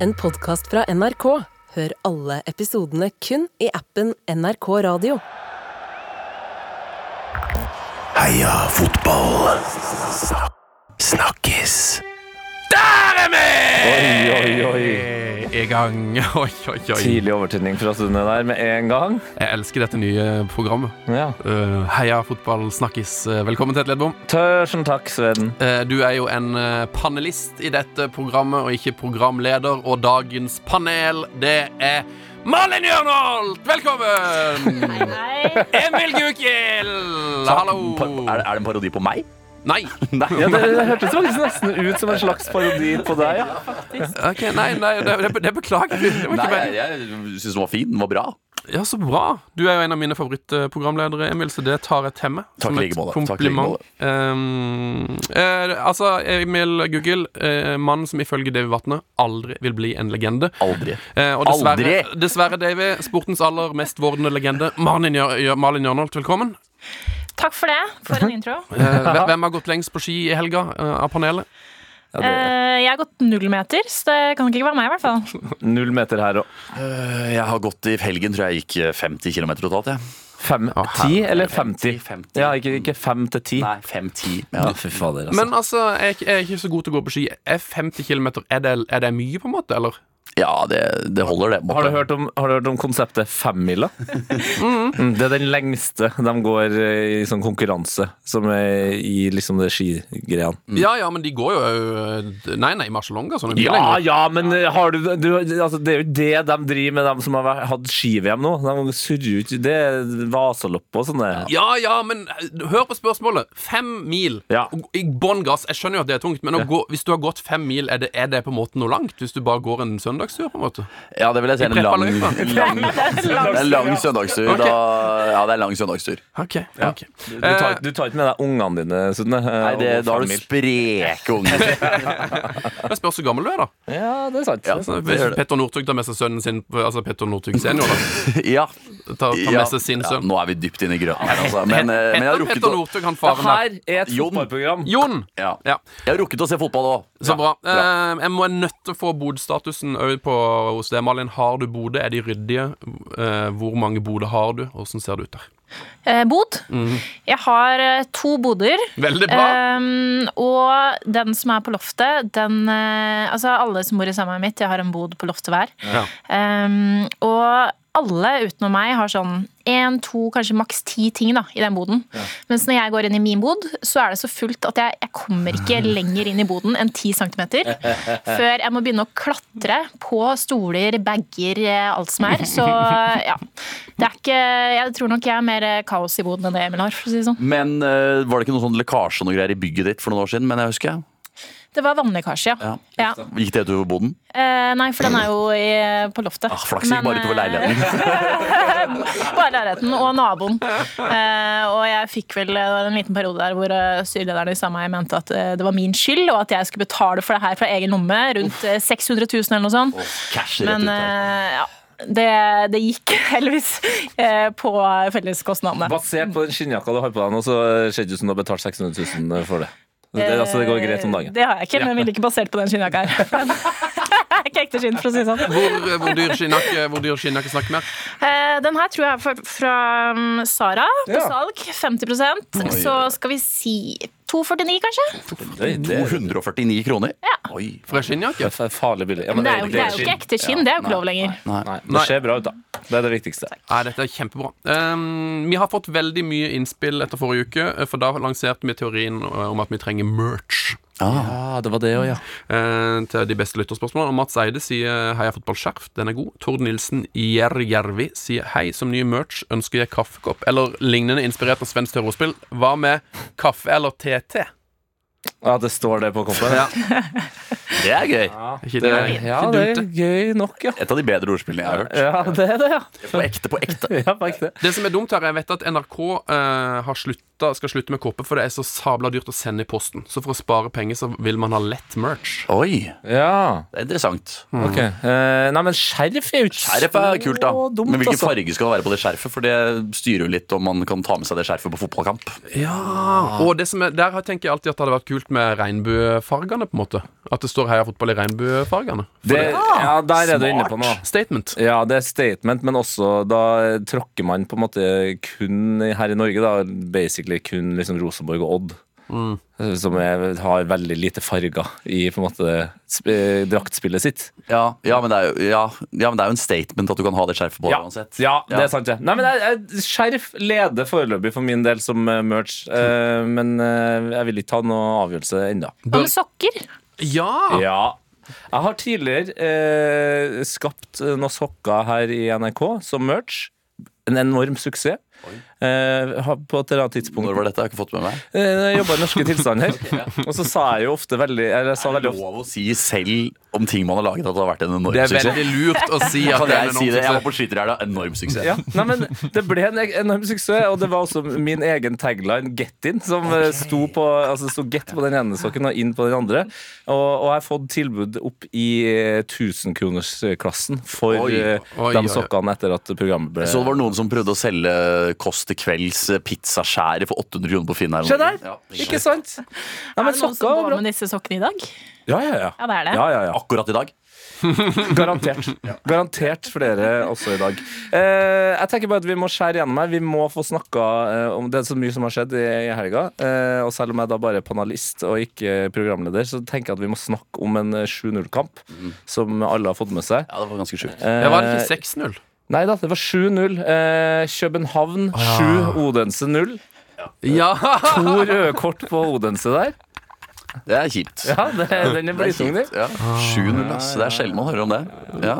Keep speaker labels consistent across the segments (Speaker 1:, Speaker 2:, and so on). Speaker 1: en podkast fra NRK. Hør alle episodene kun i appen NRK Radio.
Speaker 2: Heia fotball. Snakkes.
Speaker 3: Oi, oi, oi.
Speaker 2: I gang. Oi, oi, oi.
Speaker 3: Eh, Tidlig overtenning fra studiene der med en gang.
Speaker 2: Jeg elsker dette nye programmet.
Speaker 3: Ja.
Speaker 2: Eh, heia fotball snakkes. Eh, Velkommen til Ledbom.
Speaker 3: Tusen takk, Sveden.
Speaker 2: Eh, Du er jo en eh, panelist i dette programmet, og ikke programleder. Og dagens panel, det er Malin Jørnholt! Velkommen! Emil Gukild! Hallo!
Speaker 4: Er, det en parodi på meg?
Speaker 2: Nei.
Speaker 3: Ja, det, det hørtes faktisk nesten ut som en slags parodi på deg. Ja.
Speaker 2: Ok, nei, nei det, det, det beklager vi. Det var
Speaker 4: Nei,
Speaker 2: ikke
Speaker 4: jeg,
Speaker 2: meg.
Speaker 4: jeg syns den var fin. Den var bra.
Speaker 2: Ja, så bra. Du er jo en av mine favorittprogramledere, Emil, så det tar jeg til meg.
Speaker 4: Takk
Speaker 2: som
Speaker 4: i
Speaker 2: et
Speaker 4: like måte. Takk i like
Speaker 2: kompliment. Um, eh, altså, Emil Guggel, eh, mannen som ifølge Davy Vatne aldri vil bli en legende.
Speaker 4: Aldri.
Speaker 2: Eh, og dessverre,
Speaker 4: Aldri!
Speaker 2: dessverre, Davy, sportens aller mest vordende legende, Malin, Jør Jør- Malin Jørnholt, velkommen.
Speaker 5: Takk for det, for en intro.
Speaker 2: Eh, hve- hvem har gått lengst på ski i helga eh, av panelet?
Speaker 5: Eh, jeg har gått null meter, så det kan ikke være meg i hvert fall.
Speaker 3: Null meter her og
Speaker 4: Eh, Jeg har gått i helgen, tror jeg gikk eh, 50 km totalt. Jeg.
Speaker 3: fem, ti eller 50?
Speaker 4: 50.
Speaker 3: Ja, ikke, ikke fem til ti.
Speaker 4: Nei, 5-10. Ja, fy fader,
Speaker 2: Men altså, jeg, er ikke- jeg er ikke så god til å gå på ski. Er 50 km er det, er det mye, på en måte? eller?
Speaker 4: Ja, det, det holder, det. på en
Speaker 3: Har du
Speaker 4: måte.
Speaker 3: hørt om, har du hørt om konseptet femmila? Mm, Det er den lengste de går eh, i sånn konkurranse, som er i liksom det skigreiene.
Speaker 4: Mm.
Speaker 2: Ja ja, men de går jo eh, Nei, nei, marsjalonga. Sånn, er mye
Speaker 3: Ja,
Speaker 2: lenger.
Speaker 3: ja, men eh, har du, du altså, Det er jo det de driver med, de som har vært- hatt ski-VM nå. De surrer ut Det er vasalopp og sånn. det.
Speaker 2: Ja, ja, men eh, hør på spørsmålet. Fem mil
Speaker 3: Ja.
Speaker 2: i bånn gass. Jeg skjønner jo at det er tungt, men å gå, hvis du har gått fem mil, er det, er det på en måte noe langt? Hvis du bare går en søndagstur, på en måte?
Speaker 4: Ja, det vil jeg si. En lang,
Speaker 2: prepper
Speaker 4: lang, det er en lang søndagstur.
Speaker 2: Ok.
Speaker 4: Da, ja, det er en lang søndagstur.
Speaker 2: Ok, ok.
Speaker 3: Du, tar, du tar ikke med deg ungene dine, Sunne? Eh,
Speaker 4: Nei, det, da har du spreke unger.
Speaker 2: Eh, det spørs hvor gammel du er, da.
Speaker 3: Ja, det er sant. det er
Speaker 4: Ja,
Speaker 2: Altså,
Speaker 3: sant.
Speaker 2: hvis Petter Northug tar med seg sønnen sin Altså Petter Northug senior, da.
Speaker 4: Ja.
Speaker 2: Tar, tar
Speaker 4: Ja.
Speaker 2: med seg sin
Speaker 4: Ja,
Speaker 2: sønn.
Speaker 4: nå er vi dypt inne i grøten her, altså. Men, eh, men jeg har
Speaker 2: Petter,
Speaker 4: rukket
Speaker 2: Petter
Speaker 4: å
Speaker 2: Northug, han faren der.
Speaker 3: Her er et
Speaker 4: Jon.
Speaker 3: fotballprogram.
Speaker 2: Jon!
Speaker 4: Ja.
Speaker 2: Ja.
Speaker 4: Jeg har rukket å se fotball òg.
Speaker 2: Så bra. Eh, jeg må jeg er nødt til å få Bodø-statusen òg på eh, hos deg, Malin. Har du Bodø? Er de ryddige? Eh, hvor mange Bodø har du? Åssen ser det ut der?
Speaker 5: Eh, bod. Jeg har eh, to boder.
Speaker 2: Mhm. Veldig bra.
Speaker 5: Ehm, og den som er på loftet, den eh, Altså alle som bor i sameiet mitt, jeg har en bod på loftet hver.
Speaker 2: Ja.
Speaker 5: Ehm, og alle utenom meg har sånn én, to, kanskje maks ti ting da, i den boden. Mens når jeg går inn i min bod, så er det så fullt at jeg, jeg kommer ikke lenger inn i boden enn ti centimeter før jeg må begynne å klatre på stoler, bager, eh, alt som er. Så ja. Det er ikke Jeg tror nok jeg er mer eh, kaos i boden enn det Emil har, for å si det sånn.
Speaker 4: Men eh, var det ikke noe sånn lekkasje og noe greier i bygget ditt for noen år siden? Men jeg husker jeg.
Speaker 5: Det var vannlekkasje,
Speaker 4: Ja.
Speaker 5: ja. ja.
Speaker 4: Gikk det utover boden?
Speaker 5: Eh, nei, for den er jo i, på loftet.
Speaker 4: Ah, Flaks gikk bare
Speaker 5: eh,
Speaker 4: utover leiligheten.
Speaker 5: Bare leiligheten og naboen. Eh, og jeg fikk vel det var en liten periode der hvor eh, styrelederen i sameie mente at eh, det var min skyld, og at jeg skulle betale for det her fra egen lomme, rundt eh, 600 000 eller noe sånt.
Speaker 4: Cash rett
Speaker 5: Men
Speaker 4: ut her.
Speaker 5: eh, ja, det, det gikk heldigvis eh, på felleskostnadene.
Speaker 3: Basert på den skinnjakka du har på deg nå, så ser det ut som du har betalt 600 000 eh, for det. det altså, det går greit om dagen.
Speaker 5: Eh, Det har jeg ikke, men jeg ville ikke basert på den skinnjakka her. For den- Det er ikke ekte skinn, for å si det sånn.
Speaker 2: Hvor, eh, hvor dyr skinnjakke hvor dyr skinnjakke snakker mer?
Speaker 5: Eh, Den her tror jeg er fra, fra um, Sara på
Speaker 3: Ja.
Speaker 5: salg. 50 Så skal vi si 249, kanskje?
Speaker 3: Oi, det er-
Speaker 4: 249 kroner? Oi.
Speaker 2: For en skinnjakke?
Speaker 3: det er farlig billig. Ja,
Speaker 5: Men det er jo, det er jo
Speaker 3: skinn.
Speaker 5: ikke ekte skinn. Det er jo ikke lov lenger.
Speaker 3: Nei,
Speaker 2: Nei.
Speaker 3: det ser bra ut, da. Det er det viktigste.
Speaker 2: Nei, dette er kjempebra. Um, vi har fått veldig mye innspill etter forrige uke, eh, for da lanserte vi teorien eh, om at vi trenger merch.
Speaker 4: Ah.
Speaker 3: Ja, det var det òg, ja.
Speaker 2: eh, til de beste lytterspørsmålene. Og Mats Eide sier 'Heia fotballskjerf', den er god. Tord Nilsen i Jervjervi sier 'Hei, som ny merch ønsker jeg kaffekopp', eller lignende inspirert av svensk terrorspill. Hva med kaffe eller TT?
Speaker 3: Ja, det står det på koppen. Ja,
Speaker 4: Det er gøy.
Speaker 2: Ikke
Speaker 3: det,
Speaker 2: det-
Speaker 3: ja,
Speaker 2: ikke dumt,
Speaker 3: det er
Speaker 2: det.
Speaker 3: gøy nok, ja.
Speaker 4: Et av de bedre ordspillene jeg har hørt.
Speaker 3: Ja, det er det, ja.
Speaker 4: På ekte, på ekte.
Speaker 3: Ja, faktisk det.
Speaker 2: Det som er dumt her, jeg vet at NRK eh, har slutta, skal slutte med kopper, for det er så sabla dyrt å sende i posten. Så for å spare penger, så vil man ha lett merch.
Speaker 4: Oi,
Speaker 3: Ja,
Speaker 4: det er interessant.
Speaker 3: ok. Eh, nei, men skjerf er jo ikke
Speaker 4: Skjerf er kult, da.
Speaker 3: så dumt,
Speaker 4: Men hvilken
Speaker 3: altså.
Speaker 4: farge skal det være på det skjerfet? For det styrer jo litt om man kan ta med seg det skjerfet på fotballkamp. Ah.
Speaker 2: Ja Og det som er, der tenker jeg alltid at det hadde vært kult med regnbuefargene, på en måte. At det står står Heia fotball i regnbuefargene. For
Speaker 3: Det, ja, der er du inne på noe.
Speaker 2: Statement.
Speaker 3: Ja, det er statement, men også da tråkker man på en måte kun her i Norge, da basically kun liksom Rosenborg og Odd. Som er, har veldig lite farger i på en måte sp eh, draktspillet sitt.
Speaker 4: Ja, ja, men det er jo, ja, ja, men det er jo en statement at du kan ha det skjerfet på deg uansett.
Speaker 3: ja, det er sant, det. Nei, men jeg, jeg, skjerf leder foreløpig for min del som eh, merch, eh, men eh, jeg vil ikke ta noen avgjørelse ennå.
Speaker 5: Hva med sokker?
Speaker 2: Ja!
Speaker 3: Ja. Jeg har tidligere eh, skapt eh, noen sokker her i NRK som merch. En enorm suksess. Eh, har på et eller annet tidspunkt
Speaker 4: Når var dette? Jeg har ikke fått med meg.
Speaker 3: Eh, Jeg jobba i Norske Tilstander, og så sa jeg jo ofte veldig eller jeg sa
Speaker 4: Det er
Speaker 3: veldig ofte
Speaker 4: lov å si selv om ting man har laget at det har vært en enorm
Speaker 2: Det er
Speaker 4: suksess.
Speaker 2: veldig lurt å si at
Speaker 4: Kan
Speaker 2: det er
Speaker 4: jeg
Speaker 2: en
Speaker 4: si det? Jeg var
Speaker 2: omsorg.
Speaker 4: på skytterhelga. Enorm suksess.
Speaker 3: ja. Nei, men Det ble en e- enorm suksess, og det var også min egen tagline, 'Get in', som eh, sto på Altså sto 'Get' på den ene sokken og 'In' på den andre. Og, og jeg har fått tilbud opp i eh, 1000-kronersklassen for
Speaker 4: Oi.
Speaker 3: eh,
Speaker 2: Oi, oi, oi.
Speaker 3: de sokkene etter at programmet ble
Speaker 4: Så det var noen som prøvde å selge Kåss til kvelds eh, pizzaskjære for 800 kroner på Finn. her om
Speaker 3: Se der!
Speaker 4: dagen. Ja,
Speaker 3: Ikke sant? Nei,
Speaker 5: Er
Speaker 3: men
Speaker 5: det noen
Speaker 3: sokker
Speaker 5: som
Speaker 3: var
Speaker 5: går
Speaker 3: bra.
Speaker 5: med disse sokkene i dag?
Speaker 3: Ja, ja, ja.
Speaker 5: Ja, det er det.
Speaker 3: Ja, ja, ja.
Speaker 4: Akkurat i dag.
Speaker 3: Garantert. Garantert flere også i dag. Eh, jeg tenker bare at Vi må skjære gjennom her. Vi må få snakka eh, om det er så mye som har skjedd i, i helga. Eh, og selv om jeg da bare er panelist og ikke programleder, så tenker jeg at vi må snakke om en eh, 7-0-kamp som alle har fått med seg.
Speaker 4: Ja, det var ganske sjukt.
Speaker 3: Eh,
Speaker 2: Det var ikke 6-0.
Speaker 3: Nei da, det var 7-0. Eh, København 7, Odense 0.
Speaker 4: Eh.
Speaker 2: Ja!
Speaker 3: To røde kort på Odense der.
Speaker 4: Det er kjipt.
Speaker 3: Ja, det, den er
Speaker 4: Det er
Speaker 3: blytung, den.
Speaker 4: kjipt, ja. 7-0, ass. Det er sjelden man hører om det. Ja.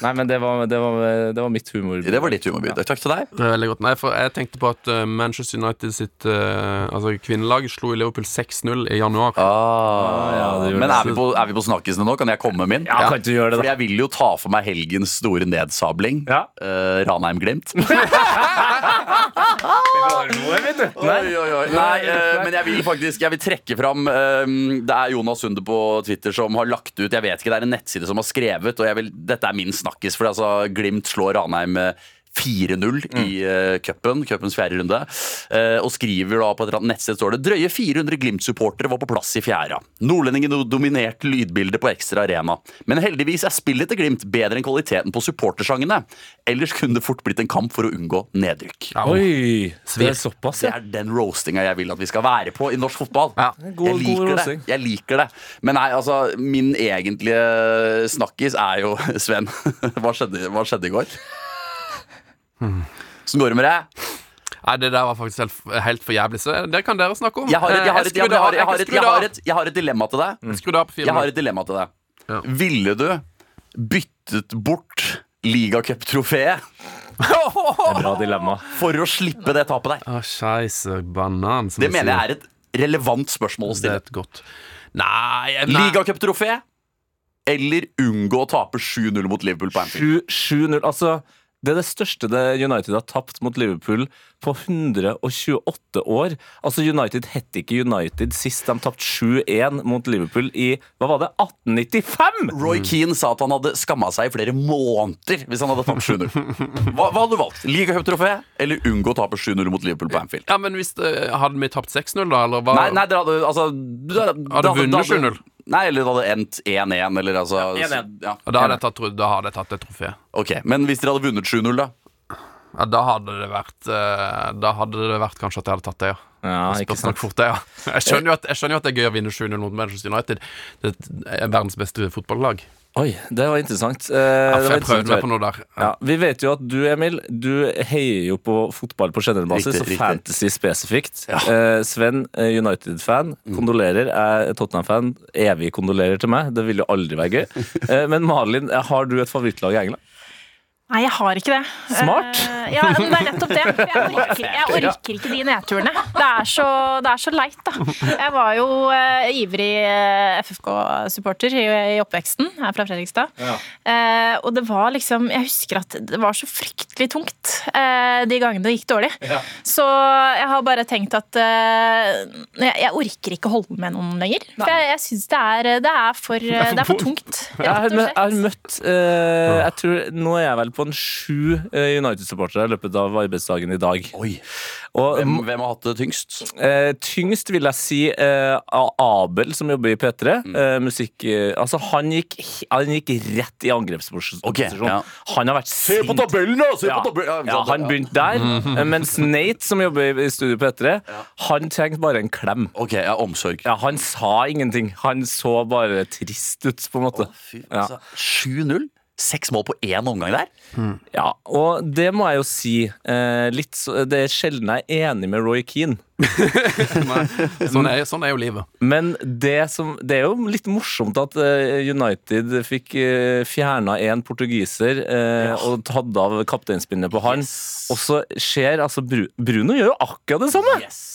Speaker 3: Nei, men det var, det var, det var mitt humor.
Speaker 4: Det var ditt humorbidrag. Takk til deg.
Speaker 2: Det er veldig godt. Nei, for jeg tenkte på at eh, Manchester United sitt eh, altså kvinnelag slo i Liverpool 6-0 i januar.
Speaker 3: ja, det gjorde
Speaker 4: Ah. Men
Speaker 3: det.
Speaker 4: er vi, på, er vi på snakkisene nå? Kan jeg komme med min?
Speaker 3: Ja, kan ikke du gjøre det, da?
Speaker 4: Fordi jeg vil jo ta for meg helgens store nedsabling.
Speaker 3: Ja.
Speaker 4: Eh, Ranheim-Glimt.
Speaker 3: Nei.
Speaker 4: Oi, oi, oi. Nei, eh, men jeg vil faktisk Jeg vil trekke fram eh, Det er Jonas Sunde på Twitter som har lagt ut Jeg vet ikke, det er en nettside som har skrevet Og jeg vil, dette er min snakkis For altså, Glimt slår Ranheim eh, 4-0 i uh, cupen, cupens fjerde runde. Eh, og skriver da på et eller annet nettsted står det drøye 400 Glimt-supportere var på plass i fjæra. Nordlendingene dominerte lydbildet på Ekstra Arena. Men heldigvis er spillet til Glimt bedre enn kvaliteten på supportersangene. Ellers kunne det fort blitt en kamp for å unngå nedrykk.
Speaker 2: Au.
Speaker 3: Oi,
Speaker 2: Svir.
Speaker 3: det er såpass,
Speaker 4: Det
Speaker 3: ja.
Speaker 4: er den roastinga jeg vil at vi skal være på i norsk fotball.
Speaker 2: Ja.
Speaker 3: God-
Speaker 4: jeg, liker
Speaker 3: god
Speaker 4: det.
Speaker 3: roasting.
Speaker 4: jeg liker det. Men nei, altså, min egentlige snakkis er jo Sven, hva skjedde, hva skjedde i går? Hvordan går det med deg?
Speaker 2: Nei, det der var faktisk helt, helt for jævlig, så eh, det kan dere snakke om.
Speaker 4: Jeg har et-
Speaker 2: Eh,
Speaker 4: jeg har et- jeg
Speaker 2: skrudde
Speaker 4: har-
Speaker 2: av-
Speaker 4: jeg har
Speaker 2: jeg
Speaker 4: et- jeg
Speaker 2: skrudde
Speaker 4: har
Speaker 2: av-
Speaker 4: et- jeg har et dilemma til deg.
Speaker 2: skrudde av på
Speaker 4: Jeg har
Speaker 2: filmen.
Speaker 4: et dilemma til deg.
Speaker 2: Mm. Ja.
Speaker 4: Ville du byttet bort ligacuptrofeet
Speaker 3: Bra dilemma.
Speaker 4: for å slippe det tapet der?
Speaker 2: Å, Ah, scheisse banan. Som
Speaker 4: Det mener jeg er et relevant spørsmål å
Speaker 2: Det er
Speaker 4: stille.
Speaker 2: et godt Nei, jeg- nei.
Speaker 4: Ligacuptrofé eller unngå å tape 7-0 mot Liverpool på Anfield?
Speaker 3: 7-0. Altså, det er det største det United har tapt mot Liverpool på 128 år. Altså, United het ikke United sist de tapte 7-1 mot Liverpool i hva var det, 1895!
Speaker 4: Roy Keane sa at han hadde skamma seg i flere måneder hvis han hadde tapt 7-0. Hva, hva hadde du valgt? Ligacuptrofé eller unngå å tape 7-0 mot Liverpool på Anfield?
Speaker 2: Ja, men hvis det, Hadde vi tapt 6-0, da? Eller hva?
Speaker 4: Nei, nei, dere hadde altså dere Hadde, dere
Speaker 2: vunnet
Speaker 4: dere
Speaker 2: 7-0?
Speaker 4: Nei, eller det hadde endt 1-1, eller altså
Speaker 3: Ja, 1-1.
Speaker 4: ja.
Speaker 2: Ja, Da hadde jeg tatt, tro- da hadde jeg tatt et trofé.
Speaker 4: Ok, Men hvis dere hadde vunnet 7-0, da?
Speaker 2: Ja, da hadde det vært eh, Da hadde det vært kanskje at jeg hadde tatt det, ja.
Speaker 3: Ja, ikke
Speaker 2: Spørs
Speaker 3: sant.
Speaker 2: nok fort det, ja. Jeg skjønner, jo at, jeg skjønner jo at det er gøy å vinne 7-0 mot Manchester United. Det er verdens beste fotballag.
Speaker 3: Oi, det var interessant. Eh, det var
Speaker 2: Jeg
Speaker 3: interessant
Speaker 2: prøvde
Speaker 3: å
Speaker 2: meg
Speaker 3: høre.
Speaker 2: på noe der.
Speaker 3: Ja, vi vet jo at du, Emil, du heier jo på fotball på generell basis,
Speaker 4: Riktig,
Speaker 3: og
Speaker 4: riktig.
Speaker 3: fantasy spesifikt. Eh, Sven, eh, United-fan,
Speaker 4: Mm.
Speaker 3: kondolerer. Jeg er Tottenham-fan. Evig kondolerer til meg. Det vil jo aldri være gøy. Eh, men Malin, eh, har du et favorittlag i England?
Speaker 5: Nei, jeg har ikke det.
Speaker 3: Smart.
Speaker 5: Eh, ja, men det er nettopp det. For Jeg orker, jeg orker ikke de nedturene. Det er så, det er så leit, da. Jeg var jo eh, ivrig eh, FFK-supporter i, i oppveksten. Jeg er fra Fredrikstad. Eh, og det var liksom Jeg husker at det var så fryktelig tungt eh, de gangene det gikk dårlig. Så jeg har bare tenkt at eh, jeg, jeg orker ikke holde med noen lenger. For jeg, jeg syns det, er- det er for eh, Det er for tungt.
Speaker 3: Jeg
Speaker 5: rett
Speaker 3: har,
Speaker 5: og
Speaker 3: mø- jeg
Speaker 5: slett.
Speaker 3: har møtt eh, jeg tror, Nå er jeg vel på en sju eh, United-supportere i løpet av arbeidsdagen i dag.
Speaker 4: Oi,
Speaker 3: Og
Speaker 4: hvem, hvem har hatt det tyngst?
Speaker 3: Eh, tyngst vil jeg si eh, A- Abel, som jobber i P3.
Speaker 4: Mm.
Speaker 3: Eh, musikk eh, Altså, han gikk, han gikk rett i angrepsposisjon.
Speaker 4: Ok, ja.
Speaker 3: Han har vært sint.
Speaker 4: tabellen, da! Se
Speaker 3: Ja. ja, han begynte der.
Speaker 4: Mm.
Speaker 3: eh, Mens Nate, som jobber i- i Studio P3, han trengte bare en klem.
Speaker 4: Ok, ja, omsorg.
Speaker 3: Ja, Han sa ingenting. Han så bare trist ut, på en måte.
Speaker 4: Fy,
Speaker 3: Ja.
Speaker 4: altså, 7-0? Seks mål på én omgang der?
Speaker 3: Ja, og det må jeg jo si. Eh, litt, så- det er sjelden jeg er enig med Roy Keane.
Speaker 2: Sånn er, sånn er jo livet.
Speaker 3: Men det, som, det er jo litt morsomt at eh, United fikk uh, fjerna én portugiser eh, og tatt av kapteinspinnet på han. Og så skjer altså Bru Bruno gjør jo akkurat det samme!
Speaker 4: Yes.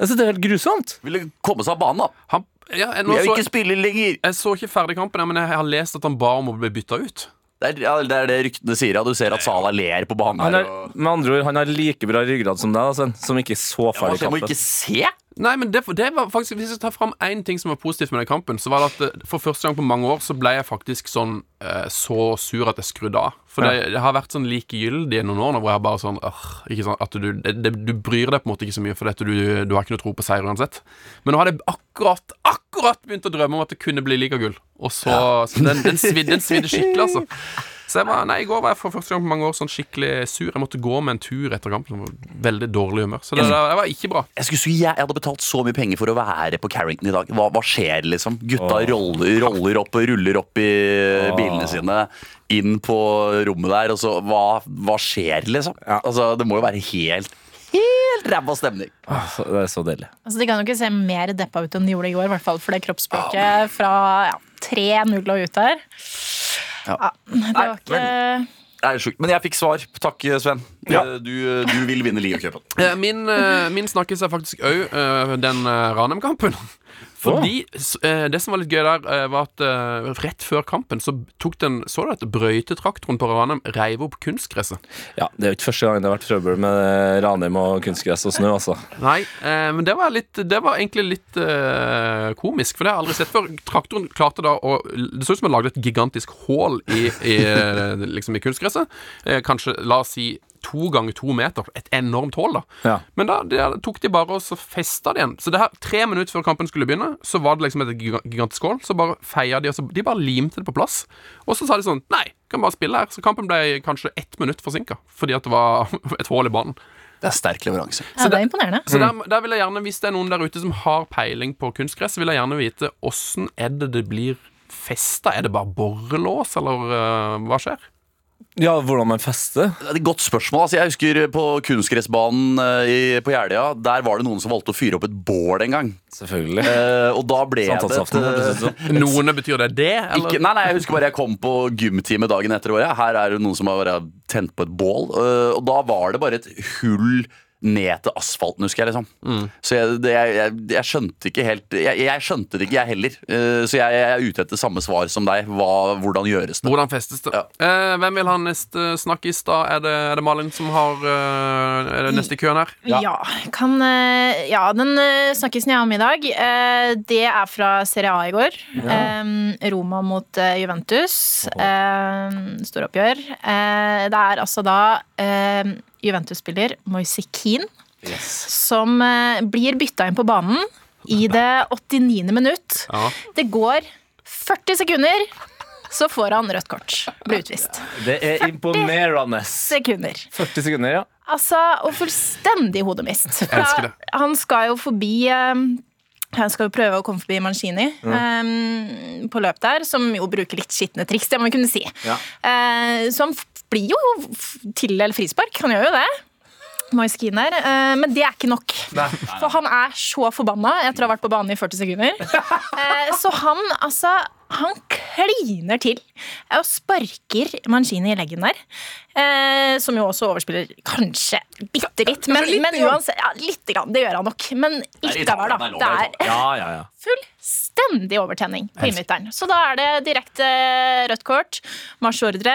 Speaker 3: Altså, det er helt grusomt.
Speaker 4: Ville komme seg av banen, da.
Speaker 2: Han, ja, jeg, nå
Speaker 4: Jeg vil
Speaker 2: så,
Speaker 4: ikke spille lenger!
Speaker 2: jeg så ikke ferdig kampen, jeg, men jeg har lest at han ba om å bli bytta ut.
Speaker 4: Det er, ja, det er det ryktene sier. Ja. Du ser at Salah ler på banen.
Speaker 3: Han
Speaker 4: her,
Speaker 3: er,
Speaker 4: og-
Speaker 3: med andre ord, han har like bra ryggrad som deg, altså, som ikke så
Speaker 4: Man
Speaker 3: ferdig
Speaker 4: må
Speaker 3: kampen.
Speaker 4: ikke se!
Speaker 2: Nei, men det, det var faktisk Hvis jeg tar fram én ting som var positivt med den kampen, så var det at eh, for første gang på mange år så ble jeg faktisk sånn eh, så sur at jeg skrudde av. For det, det har vært sånn likegyldig i noen år nå, hvor jeg bare sånn øh, ikke sånn, at du, det, det, du bryr deg på en måte ikke så mye, for dette, du, du har ikke noe tro på seier uansett. Men nå hadde jeg akkurat akkurat begynt å drømme om at det kunne bli ligagull. Og så, så den, den, svidde, den svidde skikkelig, altså. Så jeg var, nei, I går var jeg for første gang på mange år sånn skikkelig sur. Jeg måtte gå med en tur etter kampen. Jeg var Veldig dårlig humør. Så det, det, det var ikke bra.
Speaker 4: Jeg skulle si, jeg, jeg hadde betalt så mye penger for å være på Carrington i dag. Hva, hva skjer, liksom? Gutta
Speaker 3: Åh.
Speaker 4: roller, roller opp og ruller opp i bilene sine. Inn på rommet der, og så Hva, hva skjer, liksom? Altså, det må jo være helt, helt ræva stemning.
Speaker 3: Åh, så- Det er så deilig.
Speaker 5: Altså, de kan jo ikke se mer deppa ut enn de gjorde i går, i hvert fall for det kroppsspråket fra ja, 3-0 og ut der.
Speaker 4: Ja.
Speaker 5: Ja, det var ikke
Speaker 4: Det er sjukt. Men jeg fikk svar. Takk, Sven.
Speaker 3: Ja.
Speaker 4: Eh, Du, du vil vinne ligacupen.
Speaker 2: Eh, Min, eh, min snakkes er faktisk òg den eh, Ranheim-kampen. Fordi s- eh, Det som var litt gøy der, eh, var at eh, rett før kampen så tok den Så du at brøytetraktoren på Ranheim reiv opp kunstgresset?
Speaker 3: Ja, Det er jo ikke første gang det har vært trøbbel med Ranheim og kunstgress og snø, altså.
Speaker 2: Nei, eh, men det var, litt, det var egentlig litt eh, komisk, for det har jeg aldri sett før. Traktoren klarte da å Det så ut som han lagde et gigantisk hull i, i, eh, liksom i kunstgresset. Eh, kanskje, la oss si to ganger to meter. Et enormt hull, da.
Speaker 3: Ja.
Speaker 2: Men da det tok de bare og så festa det igjen. Så det her, tre minutter før kampen skulle begynne, så var det liksom et giga- gigantisk hull. Så bare feia de, og så de bare limte det på plass. Og så sa de sånn Nei, kan bare spille her. Så kampen ble kanskje ett minutt forsinka fordi at det var et hull i banen.
Speaker 4: Det er sterk leveranse.
Speaker 5: ja, Det er imponerende.
Speaker 2: Så der, der vil jeg gjerne, Hvis det er noen der ute som har peiling på kunstgress, vil jeg gjerne vite åssen er det det blir festa? Er det bare borrelås, eller øh, hva skjer?
Speaker 3: ja, hvordan man fester.
Speaker 4: Det er et Godt spørsmål. altså Jeg husker på kunstgressbanen eh, i- på Jeløya. Der var det noen som valgte å fyre opp et bål en gang.
Speaker 3: Selvfølgelig.
Speaker 4: Eh, og da ble det
Speaker 3: Sankthansaften, hørtes det ut som.
Speaker 2: Noen betyr det det, eller?
Speaker 4: Ikke, nei, nei, jeg husker bare jeg kom på gymtime dagen etter. og jeg- Her er det noen som har bare tent på et bål. øh, Og da var det bare et hull ned til asfalten, husker jeg. liksom Så jeg, det, jeg, jeg, jeg skjønte ikke helt Jeg, jeg skjønte det ikke, jeg heller. Eh, Så jeg, jeg er ute etter samme svar som deg. Hva, hvordan gjøres det?
Speaker 2: Hvordan festes det? Eh, hvem vil ha neste snakkis, da? Er det, er det Malin som har øh, er det neste i køen her?
Speaker 5: Ja, kan, eh, ja den eh, snakkisen jeg har med i dag, eh, det er fra Serie A i går. Eh, Roma mot eh, Juventus. Eh, Storoppgjør. Eh, Det er altså da eh, Juventus-spiller Moise Keane som eh, blir bytta inn på banen i det 89. minutt.
Speaker 2: Ja.
Speaker 5: Det går 40 sekunder, så får han rødt kort. Blir utvist.
Speaker 3: Det er imponerende.
Speaker 5: Sekunder.
Speaker 3: 40 sekunder, ja.
Speaker 5: Altså, og fullstendig hodemist.
Speaker 2: elsker det.
Speaker 5: Ja, Han skal jo forbi eh, han skal jo prøve å komme forbi Mancini eh, på løp der, som jo bruker litt skitne triks, det må vi kunne si.
Speaker 3: Ja.
Speaker 5: Eh, så han f- blir jo f- tildelt frispark, han gjør jo det. Moise Keane der. eh, men det er ikke nok. For han er så forbanna etter å ha vært på banen i 40 sekunder. Eh, så han altså Han kliner til eh, og sparker Mancini i leggen der. Eh, som jo også overspiller kanskje bitte litt, men, men uansett ja, Lite grann, det gjør han nok. Men likevel, da. Det er
Speaker 3: Ja, ja, ja.
Speaker 5: fullstendig overtenning på innbytteren. Så da er det direkte eh, rødt kort, marsjordre,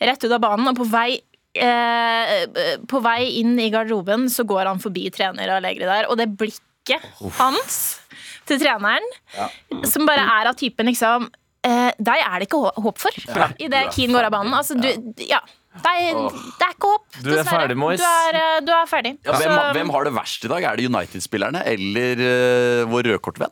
Speaker 5: rett ut av banen, og på vei eh, på vei inn i garderoben så går han forbi trener og Allegri der, og det blikket hans til treneren, som bare er av typen liksom eh, Deg er det ikke hå- håp for, idet Keane går av banen. Altså, du, ja. Det er, det er ikke håp,
Speaker 3: Du er
Speaker 5: dessverre.
Speaker 3: ferdig, Mois.
Speaker 5: Du er, eh, du er ferdig.
Speaker 4: Ja, hvem,
Speaker 5: Så-
Speaker 4: hvem har det verst i dag? Er det United-spillerne eller eh, vår rødkortvenn?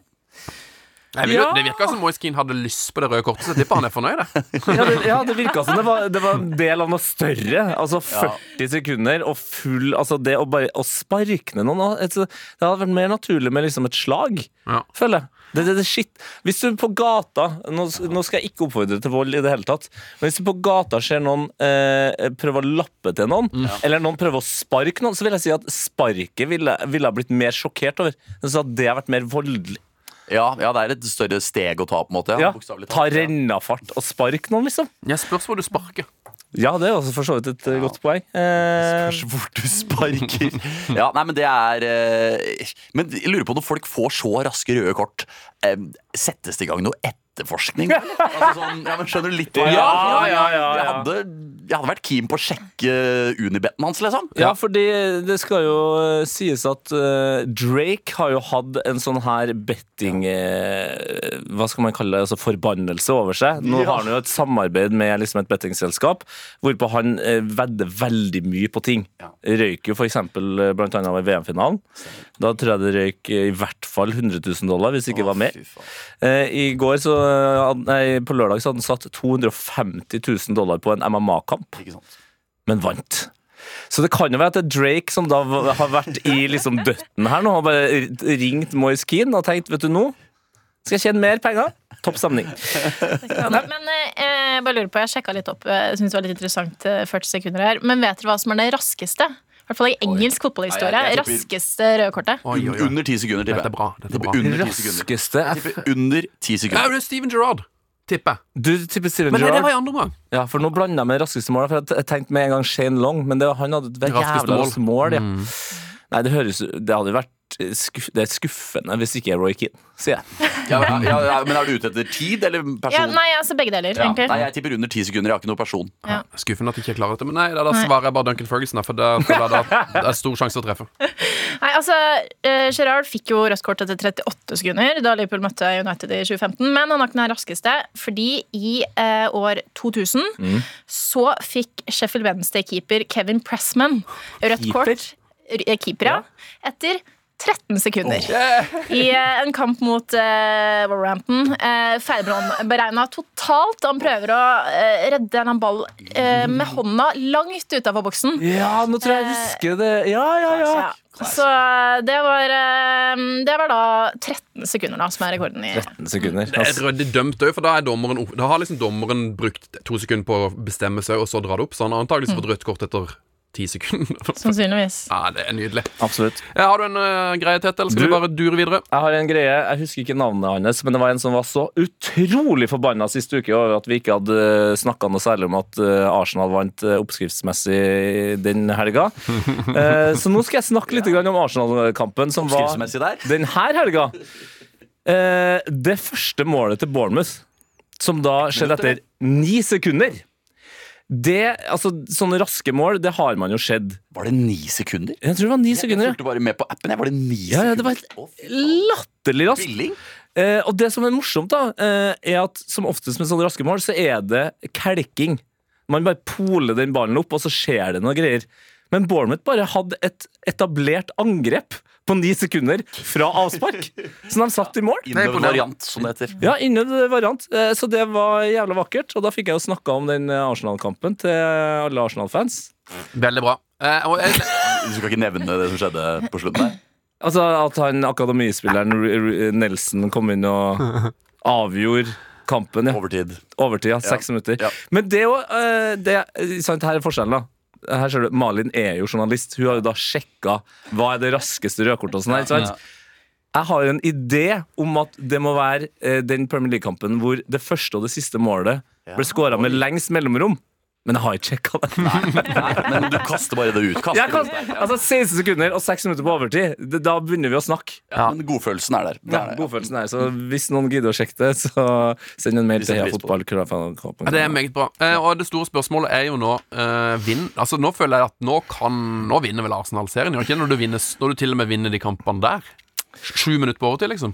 Speaker 2: Nei, men
Speaker 3: Ja.
Speaker 2: Det virka som Moiskin hadde lyst på det røde kortet, så jeg tipper han er fornøyd. jeg.
Speaker 3: Ja, det, ja, det virka som det var, det var en del av noe større. Altså 40 sekunder og full Altså det å bare å sparke ned noen altså, Det hadde vært mer naturlig med liksom et slag,
Speaker 2: Ja.
Speaker 3: føler jeg. Det, det, det shit. Hvis du på gata nå, nå skal jeg ikke oppfordre til vold i det hele tatt, men hvis du på gata ser noen eh, prøve å lappe til noen,
Speaker 4: Mm.
Speaker 3: eller noen prøver å sparke noen, så vil jeg si at sparket ville, ville jeg blitt mer sjokkert over. Så at det har vært mer voldelig.
Speaker 4: Ja, ja, det er et større steg å ta, på en måte.
Speaker 3: Ja,
Speaker 4: bokstavelig
Speaker 3: ta
Speaker 4: talt. Ja.
Speaker 3: rennafart og spark noen, liksom.
Speaker 2: Jeg spørs hvor du sparker.
Speaker 3: Ja, det er også for så vidt et eh, godt poeng. Eh,
Speaker 4: Spørs hvor du sparker. Ja, nei, men det er eh, Men jeg lurer på når folk får så raske røde kort, eh, settes det i gang noe etterforskning? eller? Altså sånn, ja, men skjønner du litt hva jeg-
Speaker 3: Ja, ja, ja,
Speaker 4: Jeg,
Speaker 3: ja.
Speaker 4: hadde, jeg hadde vært keen på å sjekke Unibeten hans, liksom.
Speaker 3: Eh, ja, fordi det skal jo eh, sies at eh, Drake har jo hatt en sånn her betting eh, Hva skal man kalle det? Altså forbannelse over seg. Nå har han jo et samarbeid med liksom et bettingselskap, hvorpå han eh, vedder veldig mye på ting. Røyk jo f.eks. blant annet ved VM-finalen. Da tror jeg det røyk eh, i hvert fall 100 000 dollar, hvis det ikke var mer.
Speaker 4: Fy faen.
Speaker 3: Eh, I går så, eh, han- nei, På lørdag så hadde han satt 250 000 dollar på en MMA-kamp.
Speaker 4: Ikke sant.
Speaker 3: men vant. Så det kan jo være at det er Drake som da v- har vært i liksom bøtten her nå, har bare r- ringt Moise Keane og tenkt, vet du nå, skal jeg tjene mer penger? Topp stemning.
Speaker 5: Men eh, jeg bare lurer på, jeg sjekka litt opp. eh, Jeg synes det var litt interessant eh, 40 sekunder her. Men vet dere hva som er det raskeste? I hvert fall i engelsk fotballhistorie.
Speaker 4: Nei, jeg- jeg tipper-
Speaker 5: raskeste røde kortet.
Speaker 2: Oi, oi, oi.
Speaker 4: Under ti sekunder, tipper
Speaker 2: Dette er bra. Dette er bra.
Speaker 4: Under ti sekunder.
Speaker 3: Raskeste F.
Speaker 4: Under ti
Speaker 2: Ja,
Speaker 4: sekunder.
Speaker 2: det er Steven Gerrard, tipper jeg.
Speaker 3: Du tipper Steven
Speaker 2: Men nei, det var
Speaker 3: Gerrard.
Speaker 2: i andre omgang.
Speaker 3: Ja, for nå blander jeg med raskeste mål, for jeg tenkte med en gang Shane Long, men det, var- han hadde et
Speaker 2: Raskeste
Speaker 3: jævla
Speaker 2: mål.
Speaker 3: raskt mål. Mm. Ja. Nei, det høres Det hadde jo vært skuff, det er skuffende hvis ikke Roy Keane, sier jeg.
Speaker 4: Ja, ja, ja, ja, men er du ute etter tid eller person?
Speaker 5: Ja, nei, altså begge deler,
Speaker 4: Ja,
Speaker 5: egentlig.
Speaker 4: nei, jeg tipper under ti sekunder. Jeg har ikke noen person.
Speaker 2: Skuffende at jeg ikke klarer dette. Men nei, da, da svarer jeg bare Duncan Ferguson, da, for da føler jeg da det er stor sjanse å treffe.
Speaker 5: Nei, altså, eh, Gerrard fikk jo rødt kort etter 38 sekunder da Liverpool møtte United i 2015. Men han har ikke den raskeste, fordi i eh, år 2000 så fikk Sheffield Wednesday-keeper Kevin Pressman rødt
Speaker 3: Keeper?
Speaker 5: kort r- eh, Keeper, ja. Etter 13 sekunder. I eh, en kamp mot eh, Wolverhampton. Eh, Feilberegna totalt. Han prøver å eh, redde en ball eh, med hånda langt utafor boksen.
Speaker 3: Ja, nå tror jeg jeg husker det. Ja, ja, ja.
Speaker 5: Ja. Så det var, eh, det var da 13 sekunder da, som er rekorden i
Speaker 3: 13 sekunder.
Speaker 2: Det er ryddig dømt òg, for da, er dommeren, opp- da har liksom dommeren brukt to sekunder på å bestemme seg, og så dra det opp. Så han har antakeligvis fått rødt kort etter ti sekunder.
Speaker 5: Sannsynligvis.
Speaker 2: Ja, det er nydelig.
Speaker 3: Absolutt.
Speaker 2: Ja, har du en eh, greie til, eller skal
Speaker 3: Du-
Speaker 2: vi bare dure videre?
Speaker 3: Jeg har en greie, jeg husker ikke navnet hans, men det var en som var så utrolig forbanna sist uke over at vi ikke hadde snakka noe særlig om at eh, Arsenal vant eh, oppskriftsmessig den helga. Eh, Så nå skal jeg snakke litt grann om Arsenal-kampen som var
Speaker 4: Skriftmessig der.
Speaker 3: den her helga. Eh, Det første målet til Bournemouth, som da skjedde etter ni sekunder det, altså Sånne raske mål, det har man jo sett.
Speaker 4: Var det ni sekunder?
Speaker 3: Jeg tror det var ni
Speaker 4: Jeg
Speaker 3: sekunder. ja.
Speaker 4: fulgte bare med på appen. Jeg var det ni
Speaker 3: Ja, ja, det var
Speaker 4: sekunder.
Speaker 3: helt
Speaker 4: Å, fy faen.
Speaker 3: Latterlig raskt.
Speaker 4: Billing?
Speaker 3: Eh, og det som er morsomt, da, eh, er at som oftest med sånne raske mål, så er det kelking. Man bare poler den ballen opp, og så skjer det noe greier. Men Bournemouth bare hadde et etablert angrep på ni sekunder fra avspark, som de satt i mål.
Speaker 4: Innøvd
Speaker 2: imponerende.
Speaker 4: variant, som det heter.
Speaker 3: Ja, innen det variant. Eh, Så det var jævla vakkert. Og da fikk jeg jo snakka om den eh, Arsenal-kampen til alle Arsenal-fans.
Speaker 2: Veldig bra. Eh, og jeg,
Speaker 4: Du skal ikke nevne det som skjedde på slutten der.
Speaker 3: Altså at han akademispilleren R- R- Nelson kom inn og avgjorde kampen. Ja.
Speaker 4: Overtid.
Speaker 3: Overtid, ja. Seks minutter.
Speaker 4: ja.
Speaker 3: Men det er jo eh, det, eh, sant, Her er forskjellen, da. Her ser du, Malin er jo journalist. Hun har jo da sjekka hva er det raskeste rødkortet. og sånn her, ikke sant? Jeg har en idé om at det må være eh, den Premier League-kampen hvor det første og det siste målet ble skåra med lengst mellomrom. Men jeg har ikke sjekka det.
Speaker 4: Men du kaster bare det ut. Kaster
Speaker 3: Jeg kan,
Speaker 4: det ut der.
Speaker 3: altså 16 sekunder og 6 minutter på overtid, det, da begynner vi å snakke.
Speaker 4: Ja, men godfølelsen er der. Det er det, ja.
Speaker 3: Godfølelsen er, så Hvis noen gidder å sjekke det, så send en mail
Speaker 4: Vi
Speaker 3: til
Speaker 4: setter
Speaker 3: Heia
Speaker 4: pris på
Speaker 3: Fotball.
Speaker 2: Ja, det er meget bra. Eh, og det store spørsmålet er jo nå eh, vinn. Altså Nå føler jeg at nå kan Nå vinner vel Arsenal serien, gjør ikke det? Når du, vinner, når du til og med vinner de kampene der. Sju minutter på overtid, liksom.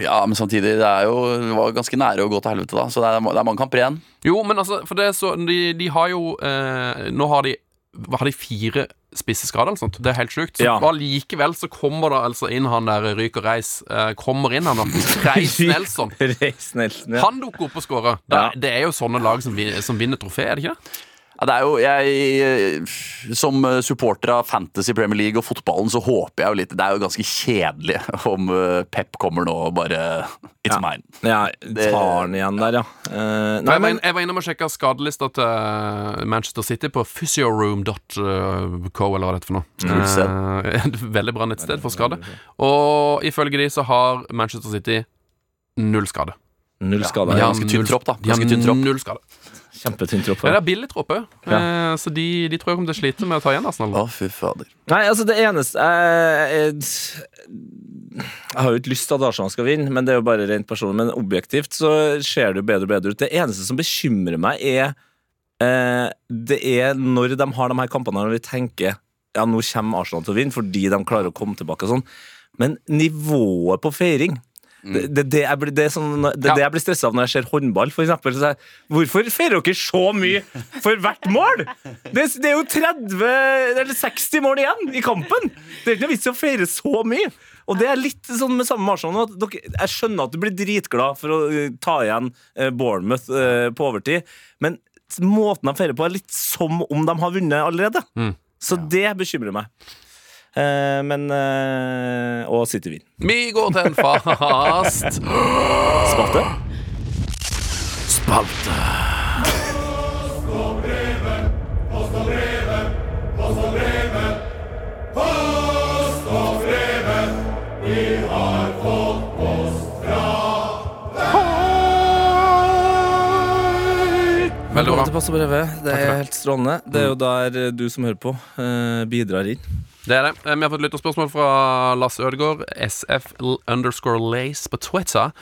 Speaker 4: Ja, men samtidig, det er jo det var ganske nære å gå til helvete, da. Så det er, det er mange kamper igjen.
Speaker 2: Jo, men altså, for det er så De, de har jo eh, Nå har de hva har de fire spisseskader eller sånt? Det er helt sjukt. Så
Speaker 3: Ja.
Speaker 2: allikevel så kommer det altså inn han der Ryk og Reis. Eh, kommer inn han da. Reis Nelson.
Speaker 3: Reis Nelson, ja.
Speaker 2: Han dukker opp og scorer. Det,
Speaker 3: Ja.
Speaker 2: det er jo sånne lag som, vin- som vinner trofé, er det ikke det?
Speaker 4: Ja, det er jo, jeg, Som supporter av Fantasy Premier League og fotballen, så håper jeg jo litt Det er jo ganske kjedelig om eh, Pep kommer nå og bare It's mine.
Speaker 3: ja tar den igjen der, ja. Eh, nei,
Speaker 2: Jeg var,
Speaker 3: men
Speaker 2: inn, jeg var innom og sjekka skadelista til eh, Manchester City på physioroom.co, eller hva det heter for noe.
Speaker 4: Nettsted.
Speaker 2: Eh, et veldig bra nettsted for skade. Og ifølge de så har Manchester City null skade.
Speaker 3: null skade.
Speaker 4: Ja,
Speaker 3: Ja.
Speaker 4: ganske tynn
Speaker 2: null-
Speaker 4: tropp, da.
Speaker 2: de har
Speaker 4: Ganske tynn tropp.
Speaker 2: Null skade.
Speaker 3: Kjempetynn tropp.
Speaker 2: Ja, det
Speaker 3: Ja.
Speaker 2: er billig tropp òg, eh, så de, de tror jeg kommer til å slite med å ta igjen Arsenal.
Speaker 4: Å, fy fader.
Speaker 3: Nei, altså, det eneste eh, eh, Jeg har jo ikke lyst til at Arsenal skal vinne, men det er jo bare rent personlig. Men objektivt så ser det jo bedre og bedre ut. Det eneste som bekymrer meg, er eh, Det er når de har de her kampene når vi tenker ja, nå kommer Arsenal til å vinne fordi de klarer å komme tilbake og sånn. Men nivået på feiring Det, det, det, jeg blir, det, er sånn, det,
Speaker 2: Ja.
Speaker 3: det jeg blir stressa av når jeg ser håndball, for eksempel. Så er jeg, hvorfor feirer dere så mye for hvert mål?! Det, det er jo 30 eller 60 mål igjen i kampen! Det er ikke noe vits i å feire så mye! Og det er litt sånn med samme Marshall nå. at dere- Jeg skjønner at du blir dritglad for å eh, ta igjen eh, Bournemouth eh, på overtid, men måten de feirer på, er litt som om de har vunnet allerede. Så det bekymrer meg. Eh, men eh, Og City vinner.
Speaker 2: Vi går til en fast
Speaker 3: Spalte.
Speaker 2: spalte. Veldig bra.
Speaker 3: Velkommen til Pass og brevet. Det er helt strålende. Det er jo der eh, du som hører på, eh, bidrar inn.
Speaker 2: Det er det. Eh, Vi har fått lytterspørsmål fra Lasse Ødegaard, SF underscore lace på Twitter.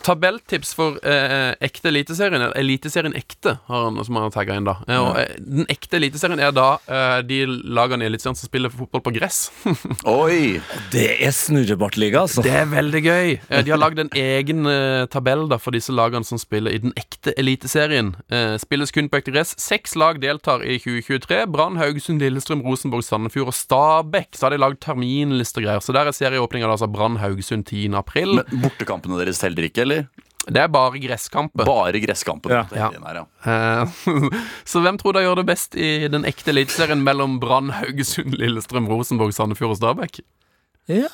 Speaker 2: Tabelltips for eh, ekte Eliteserien. eller Eliteserien ekte, har han, som han har tagga inn. da eh, og, eh, Den ekte Eliteserien er da eh, de lagene i Eliteserien som spiller fotball på gress.
Speaker 4: Oi!
Speaker 3: Det er snurrebartliga, altså.
Speaker 2: Det er veldig gøy. Eh, de har lagd en egen eh, tabell da for disse lagene som spiller i den ekte Eliteserien. Eh, spilles kun på ekte gress. Seks lag deltar i 2023. Brann, Haugesund, Lillestrøm, Rosenborg, Sandefjord og Stabæk. Så har de lagd terminlister og greier. Så der er serieåpninga da, altså Brann, Haugesund 10. april.
Speaker 4: Men bortekampene deres teller ikke, eller?
Speaker 2: Det er bare gresskamper.
Speaker 4: Bare gresskampen.
Speaker 3: Ja.
Speaker 4: Det er den her, ja.
Speaker 2: Eh, så hvem tror dere gjør det best i den ekte Eliteserien mellom Brann, Haugesund, Lillestrøm, Rosenborg, Sandefjord og Stabæk?
Speaker 3: Ja.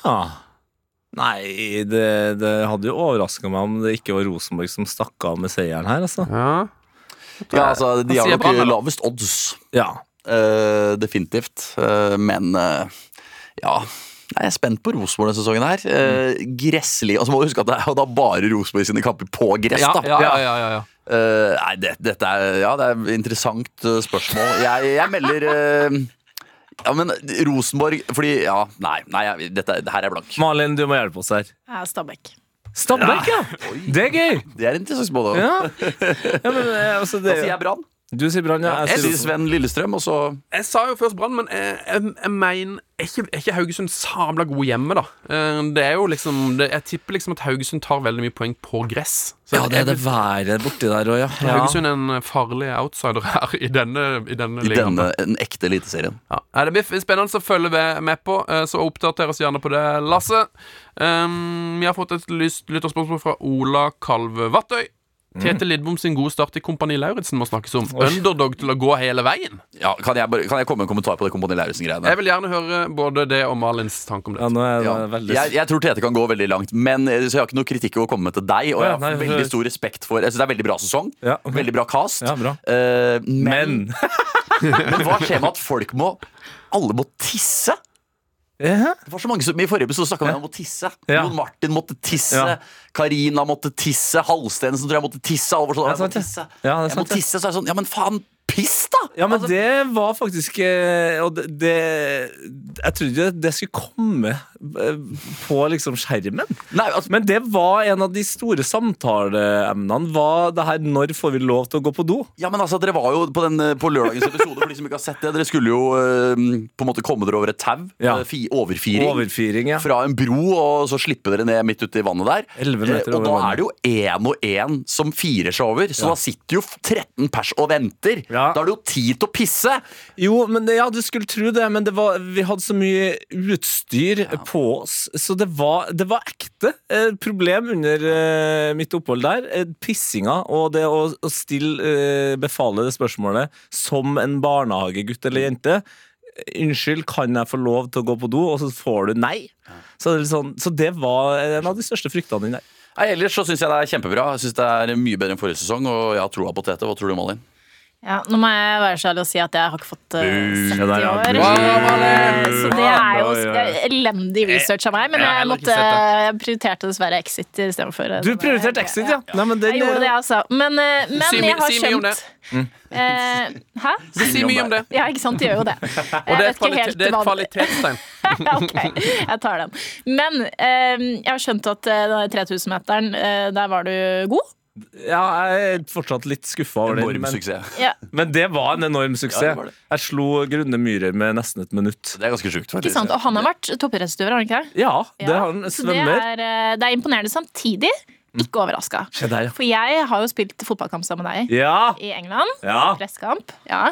Speaker 3: Nei, det, det hadde jo overraska meg om det ikke var Rosenborg som stakk av med seieren her, altså.
Speaker 2: Ja.
Speaker 4: ja altså, de
Speaker 2: Han
Speaker 4: har
Speaker 2: sier
Speaker 4: nok
Speaker 2: Brann, da.
Speaker 4: lavest odds.
Speaker 3: Ja.
Speaker 4: Eh, definitivt. Eh, men eh, ja Nei, Jeg er spent på Rosenborg denne sesongen. her uh, Gresslig. Altså, må du huske at det er jo da bare Rosenborg sine kamper på gress.
Speaker 2: Ja,
Speaker 4: da
Speaker 2: ja, ja, ja, ja, ja.
Speaker 4: Eh, Nei, det, dette er Ja, det er interessant eh, spørsmål. Jeg, jeg melder eh, Ja, men Rosenborg Fordi Ja, nei, nei jeg, dette, det her er blank.
Speaker 3: Malin, du må hjelpe oss her.
Speaker 5: Ja, Stabæk.
Speaker 3: Stabæk, ja! Det er gøy!
Speaker 4: Det er interessant spørsmål. da.
Speaker 3: Ja. ja men, eh, altså, det,
Speaker 4: Da sier jeg Brann.
Speaker 3: du sier Brann, ja. Jeg
Speaker 4: Jeg sier
Speaker 3: sier Rosenborg.
Speaker 4: Sven Lillestrøm, og så
Speaker 2: Jeg sa jo først Brann, men jeg, jeg, jeg mener Er ikke, er ikke Haugesund sabla god hjemme, da? Eh, Det er jo liksom det, Jeg tipper liksom at Haugesund tar veldig mye poeng på gress. Så
Speaker 3: Ja, det er det
Speaker 2: jeg-
Speaker 3: været borti der òg, ja. ja.
Speaker 2: Haugesund er en eh, farlig outsider her i denne, i denne
Speaker 4: i
Speaker 2: ligaen.
Speaker 4: denne den ekte Eliteserien.
Speaker 2: Ja. Nei, Det blir f- spennende å følge ve- med på, eh, så oppdater oss gjerne på det, Lasse. Um, vi har fått et lyst- lytterspørsmål fra Ola Kalve Vattøy.
Speaker 3: Mm.
Speaker 2: Tete Lidbom sin gode start i Kompani Lauritzen må snakkes om. Underdog til å gå hele veien.
Speaker 4: Ja, kan, jeg bare, kan jeg komme med en kommentar på det Kompani Lauritzen-greiene?
Speaker 2: Jeg vil gjerne høre både det og Malins tanke om det.
Speaker 3: ja nå er det
Speaker 4: Ja.
Speaker 3: veldig
Speaker 4: Jeg, jeg tror Tete kan gå veldig langt, men eh, så jeg har ikke noe kritikk å komme med til deg. Og jeg
Speaker 3: Ja, nei,
Speaker 4: har
Speaker 3: hør.
Speaker 4: veldig stor respekt for Jeg synes det er veldig bra sesong.
Speaker 3: Ja, ok.
Speaker 4: Veldig bra cast.
Speaker 3: Ja, bra.
Speaker 4: Eh,
Speaker 3: Men
Speaker 4: men, men hva skjer med at folk må Alle må tisse?
Speaker 3: ja.
Speaker 4: Det var så mange som, I forrige episode snakka vi om å tisse.
Speaker 3: Ja.
Speaker 4: Jon Martin måtte tisse.
Speaker 3: Ja.
Speaker 4: Karina måtte tisse. Halstensen tror jeg måtte tisse. Alle var sånn,
Speaker 3: Ja,
Speaker 4: jeg må
Speaker 3: sant det.
Speaker 4: tisse.
Speaker 3: Ja, det er
Speaker 4: jeg må
Speaker 3: sant det.
Speaker 4: tisse, så er det sånn Ja, men faen! piss, da!
Speaker 3: Ja, men det var faktisk eh, Og det, det Jeg trodde ikke det skulle komme eh, på liksom skjermen.
Speaker 4: Nei, altså,
Speaker 3: Men det var en av de store samtaleemnene. Var det her 'når får vi lov til å gå på do'?
Speaker 4: ja, men altså, dere var jo på, den, eh, på lørdagens episode, for de som ikke har sett det. Dere skulle jo eh, på en måte komme dere over et tau.
Speaker 3: Ja.
Speaker 4: eh, Fi, overfiring.
Speaker 3: Overfyring, ja.
Speaker 4: Fra en bro, og så slipper dere ned midt ute i vannet der.
Speaker 3: 11 meter
Speaker 4: Eh, og
Speaker 3: over
Speaker 4: da
Speaker 3: vannet.
Speaker 4: er det jo én og én som firer seg over, så
Speaker 3: Ja.
Speaker 4: da sitter jo 13 pers og venter.
Speaker 3: Ja.
Speaker 4: Da er det jo tid til å pisse!
Speaker 3: Jo, men det, ja, du skulle tro det, men det var, vi hadde så mye utstyr på oss, så det var, det var ekte eh, problem under eh, mitt opphold der. Eh, pissinga og det å, å stille, eh, befale det spørsmålet som en barnehagegutt eller -jente. Unnskyld, kan jeg få lov til å gå på do? Og så får du nei. Så det, er litt sånn, så det var en av de største fryktene dine.
Speaker 4: Nei, ellers så syns jeg det er kjempebra. Jeg synes Det er mye bedre enn forrige sesong, og jeg har troa på Tete. Hva tror du, Malin?
Speaker 5: Ja, nå må jeg være så ærlig og si at jeg har ikke fått eh, 70
Speaker 3: der, ja.
Speaker 5: år.
Speaker 3: Wow,
Speaker 5: Så det er jo
Speaker 3: Oi, oi. Eh,
Speaker 5: det er elendig research av meg, men
Speaker 2: Jeg har
Speaker 5: jeg,
Speaker 2: heller ikke
Speaker 5: måtte,
Speaker 2: sett
Speaker 5: jeg prioriterte dessverre Exit istedenfor. eh,
Speaker 3: Du
Speaker 5: denne-
Speaker 3: prioriterte Exit, ja. Nei, men den,
Speaker 5: Jeg gjorde det, altså. Men, eh, men
Speaker 2: Si mi-
Speaker 5: jeg har
Speaker 2: si mye om
Speaker 5: skjønt
Speaker 3: Mm.
Speaker 5: eh, Hæ?
Speaker 2: Si mye om det.
Speaker 5: Ja, ikke sant? De gjør jo det.
Speaker 2: Og det er
Speaker 5: Jeg vet
Speaker 2: et,
Speaker 5: ikke
Speaker 2: kvalite
Speaker 5: helt
Speaker 2: det er et
Speaker 5: hva-
Speaker 2: kvalitetstegn.
Speaker 5: ok, jeg tar den. Men eh, jeg har skjønt at eh, den 3000-meteren, eh, der var du god.
Speaker 3: eh, Ja, jeg er fortsatt litt skuffa over den.
Speaker 4: Enorm
Speaker 3: Men,
Speaker 4: suksess.
Speaker 5: Ja.
Speaker 3: men det var en enorm
Speaker 4: Ja,
Speaker 3: suksess.
Speaker 4: det var det.
Speaker 3: Jeg slo Grunde Myhrer med nesten et minutt.
Speaker 4: Det er ganske sjukt,
Speaker 5: Ikke
Speaker 4: faktisk.
Speaker 5: sant? Og han har vært toppidrettsutøver, har han ikke det?
Speaker 3: Ja, det
Speaker 5: Ja,
Speaker 3: har han.
Speaker 5: så det
Speaker 3: Svømmer. Mm.
Speaker 5: er, eh, det er imponerende samtidig. Ikke overraska.
Speaker 3: Se der, ja.
Speaker 5: For jeg har jo spilt fotballkamp sammen med deg
Speaker 3: Ja,
Speaker 5: i England.
Speaker 3: ja.
Speaker 5: Presskamp. Ja.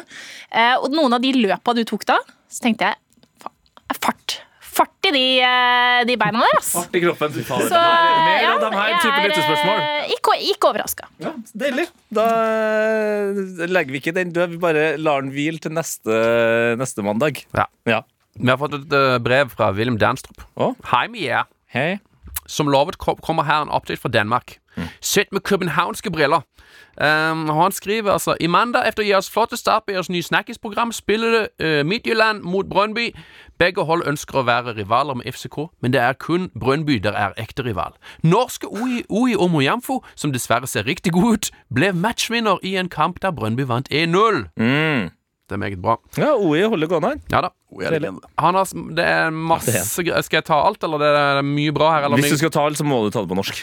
Speaker 5: Eh, og noen av de løpa du tok da, så tenkte jeg faen, fart. Fart i de, eh, de beina der, ass.
Speaker 3: I kroppen. Så,
Speaker 5: Så,
Speaker 3: Mer av
Speaker 5: ja,
Speaker 3: dem her
Speaker 5: jeg
Speaker 3: type
Speaker 5: er,
Speaker 3: lyttespørsmål.
Speaker 5: eh, Ikke, ikke overraska.
Speaker 3: Ja, deilig. Da eh, legger vi ikke den død, vi bare lar den hvile til neste, neste mandag.
Speaker 2: Ja.
Speaker 3: Ja.
Speaker 2: Vi har fått et eh, brev fra Wilhelm Danstrup.
Speaker 3: Å?
Speaker 2: Hei, Mia.
Speaker 3: Hei.
Speaker 2: Som lovet ko- kommer her en update fra Danmark. Sett med københavnske briller. Ehm, og han skriver altså I mandag efter jeres flotte start på jeres nye snakkisprogram spiller det uh, Midtjylland mot Brøndby. Begge hold ønsker å være rivaler med FCK, men det er kun Brøndby der er ekte rival. Norske Ui, Ui Omoyamfo, som dessverre ser riktig god ut, ble matchvinner i en kamp der Brøndby vant 1-0.
Speaker 3: Mm.
Speaker 2: Det er meget bra.
Speaker 3: Ja, OI holder gående her.
Speaker 2: Ja da.
Speaker 4: Oh, jeg er legende.
Speaker 2: Han har, sm- det er masse gre- Skal jeg ta alt, eller det er mye bra her? Eller
Speaker 3: Hvis du
Speaker 2: mye?
Speaker 3: skal ta alt, så må du ta det på norsk.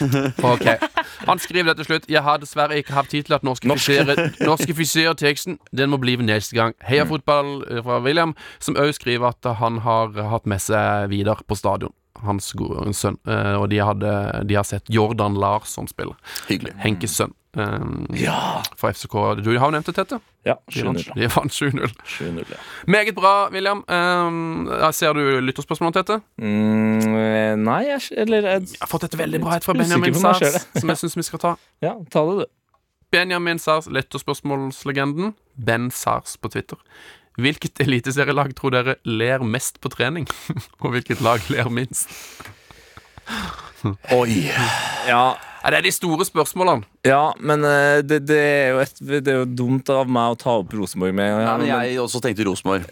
Speaker 2: Ok. Han skriver det til slutt. Jeg har dessverre ikke hatt tid til at norskifisere teksten. Den må bli neste gang.
Speaker 3: Mm.
Speaker 2: Heia fotball eh, fra William, som òg skriver at han har hatt med seg Vidar på stadion. Hans gode sønn. Eh, Og de, hadde, de har sett Jordan Larsson spille.
Speaker 4: Hyggelig.
Speaker 2: Henkes sønn. eh, Fra FCK. Du har jo nevnt det, Tette.
Speaker 3: Ja,
Speaker 2: De
Speaker 3: 7-0.
Speaker 2: vant de vant 7-0.
Speaker 3: ja.
Speaker 2: Meget bra, William. Um, ser du lytterspørsmål om dette?
Speaker 3: Mm, eh, nei, jeg Eller eh, jeg,
Speaker 2: Jeg har fått et veldig bra et fra
Speaker 3: Usikker
Speaker 2: Benjamin
Speaker 3: på om jeg ser
Speaker 2: Sars, som jeg syns vi skal ta.
Speaker 3: Ja, ta det, du.
Speaker 2: Benjamin Sars, lytterspørsmålslegenden. Ben Sars på Twitter. Hvilket eliteserielag tror dere ler mest på trening? Og hvilket lag ler minst?
Speaker 4: Oi.
Speaker 3: Ja,
Speaker 2: Ja, det er de store spørsmålene.
Speaker 3: ja men eh, det, det, er jo et, det er jo dumt av meg å ta opp Rosenborg med
Speaker 4: Nei,
Speaker 3: ja,
Speaker 4: men jeg også tenkte Rosenborg.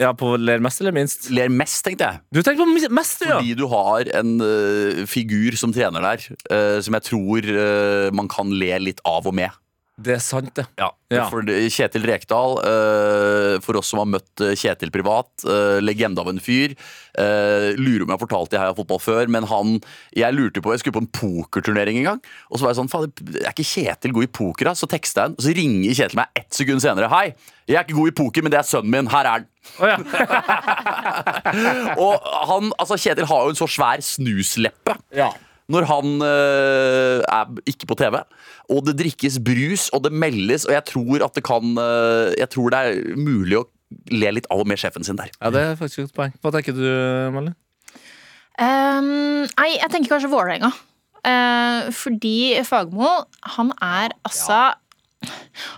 Speaker 3: ja, på ler mest eller minst.
Speaker 4: Ler mest, tenkte jeg.
Speaker 3: Du tenker på mi- mest, du, ja!
Speaker 4: Fordi du har en eh, figur som trener der, eh, som jeg tror eh, man kan le litt av og med.
Speaker 3: Det er sant, det.
Speaker 4: Ja.
Speaker 3: Ja.
Speaker 4: For det- Kjetil Rekdal, eh, for oss som har møtt eh, Kjetil privat, eh, legende av en fyr. Eh, lurer om jeg har fortalt det her i fotball før, men han Jeg lurte på Jeg skulle på en pokerturnering en gang, og så var jeg sånn Fader, er ikke Kjetil god i poker, da? Så tekster jeg han, og så ringer Kjetil meg ett sekund senere. Hei! Jeg er ikke god i poker, men det er sønnen min. Her er den. og han, altså Kjetil har jo en så svær snusleppe
Speaker 3: Ja.
Speaker 4: når han eh, er ikke på TV, og det drikkes brus, og det meldes, og jeg tror at det kan eh, Jeg tror det er mulig å le litt av og med sjefen sin der.
Speaker 3: det er faktisk et godt poeng. Hva tenker du, Malin?
Speaker 5: Um, nei, jeg tenker kanskje Vålerenga. Eh, fordi Fagmo, han er altså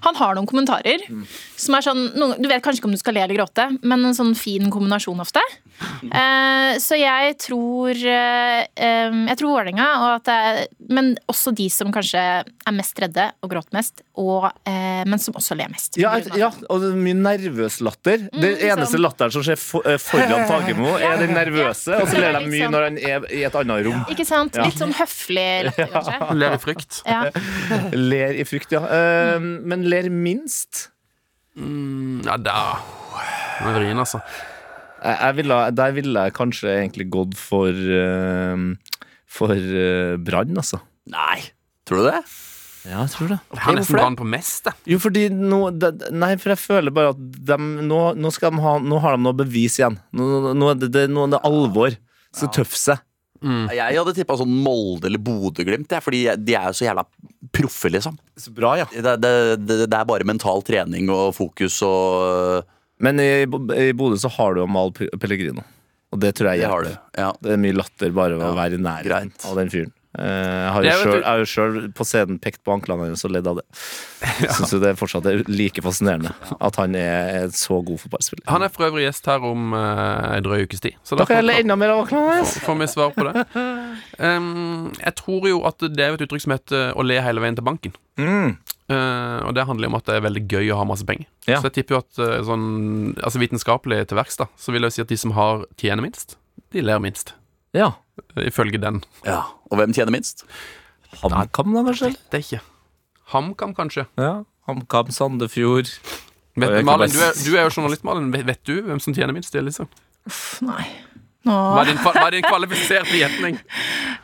Speaker 5: Han har noen kommentarer
Speaker 3: Mm.
Speaker 5: som er sånn noen, Du vet kanskje ikke om du skal le eller gråte, men en sånn fin kombinasjon ofte. Eh, så jeg tror eh, em, Jeg tror Vålerenga, og at det er, men også de som kanskje er mest redde og gråter mest, og, eh, men som også ler mest.
Speaker 3: Ja, et, ja, og det er mye nervøs latter. Den
Speaker 5: liksom.
Speaker 3: eneste latteren som skjer for, eh, foran Fagermo, er den nervøse, og så ler de mye
Speaker 5: Liksom.
Speaker 3: når han er i et annet rom.
Speaker 5: Ikke sant? Litt sånn høflig latter, kanskje.
Speaker 2: Ler i frykt.
Speaker 5: Ja.
Speaker 3: Ler i frykt, ja. Eh, Men ler minst?
Speaker 2: Ja, da Den er vrien, altså.
Speaker 3: Jeg, jeg ville, der ville jeg kanskje egentlig gått for eh, For eh, brann, altså.
Speaker 4: Nei, tror du det?
Speaker 3: Ja, jeg tror det.
Speaker 2: Jeg har nesten
Speaker 3: hvorfor det?
Speaker 2: brann på mest, jeg.
Speaker 3: Jo, fordi nå det- Nei, for jeg føler bare at dem, nå, nå, skal de ha, nå har de noe bevis igjen. Nå, nå, nå, er det, det, nå er det alvor. Skal tøffe seg.
Speaker 4: Jeg hadde tippa sånn Molde eller Bodø-Glimt, jeg, fordi de er jo så jævla proffe, liksom.
Speaker 3: Så bra, ja.
Speaker 4: Det, det, det, det er bare mental trening og fokus og eh,
Speaker 3: Men i, Bo- i Bodø så har du jo Mal Pe- Pellegrino. Og det tror jeg
Speaker 4: Det har
Speaker 3: hjelper.
Speaker 4: du. Ja.
Speaker 3: Det er mye latter bare ved å være i nærheten
Speaker 4: greit.
Speaker 3: av den fyren. Eh, Jeg har jo
Speaker 2: Det er jo
Speaker 3: selv-
Speaker 2: et-
Speaker 3: jeg har jo sjøl på scenen pekt på anklene hennes og ledd av det. Jeg Syns jo det fortsatt er like fascinerende at han er en så god fotballspiller.
Speaker 2: Han er for øvrig gjest her om eh, en drøy ukes tid. Så
Speaker 3: Da kan jeg le
Speaker 2: får-
Speaker 3: enda mer av anklene hennes!
Speaker 2: får vi svar på det. Ehm, jeg tror jo at det er jo et uttrykk som heter 'å le hele veien til banken'.
Speaker 3: Mm.
Speaker 2: Eh, og det handler jo om at det er veldig gøy å ha masse penger.
Speaker 3: Ja.
Speaker 2: Så jeg tipper jo at eh, sånn, altså vitenskapelig til verks, da, så vil jeg jo si at de som har tjener minst, de ler minst.
Speaker 3: Ja.
Speaker 2: Eh, Ifølge den.
Speaker 4: ja. Og hvem tjener minst?
Speaker 3: HamKam, da, kanskje?
Speaker 2: Det er ikke HamKam, kanskje.
Speaker 3: Ja. HamKam, Sandefjord.
Speaker 2: Vet,
Speaker 3: jeg kan
Speaker 2: Malin,
Speaker 3: bare-
Speaker 2: du, er, du er jo journalist, Malin. Vet, vet du hvem som tjener minst? Det er liksom.
Speaker 5: Pff, Nei. Nå
Speaker 2: Hva er din, kva- hva er din kvalifiserte gjetning?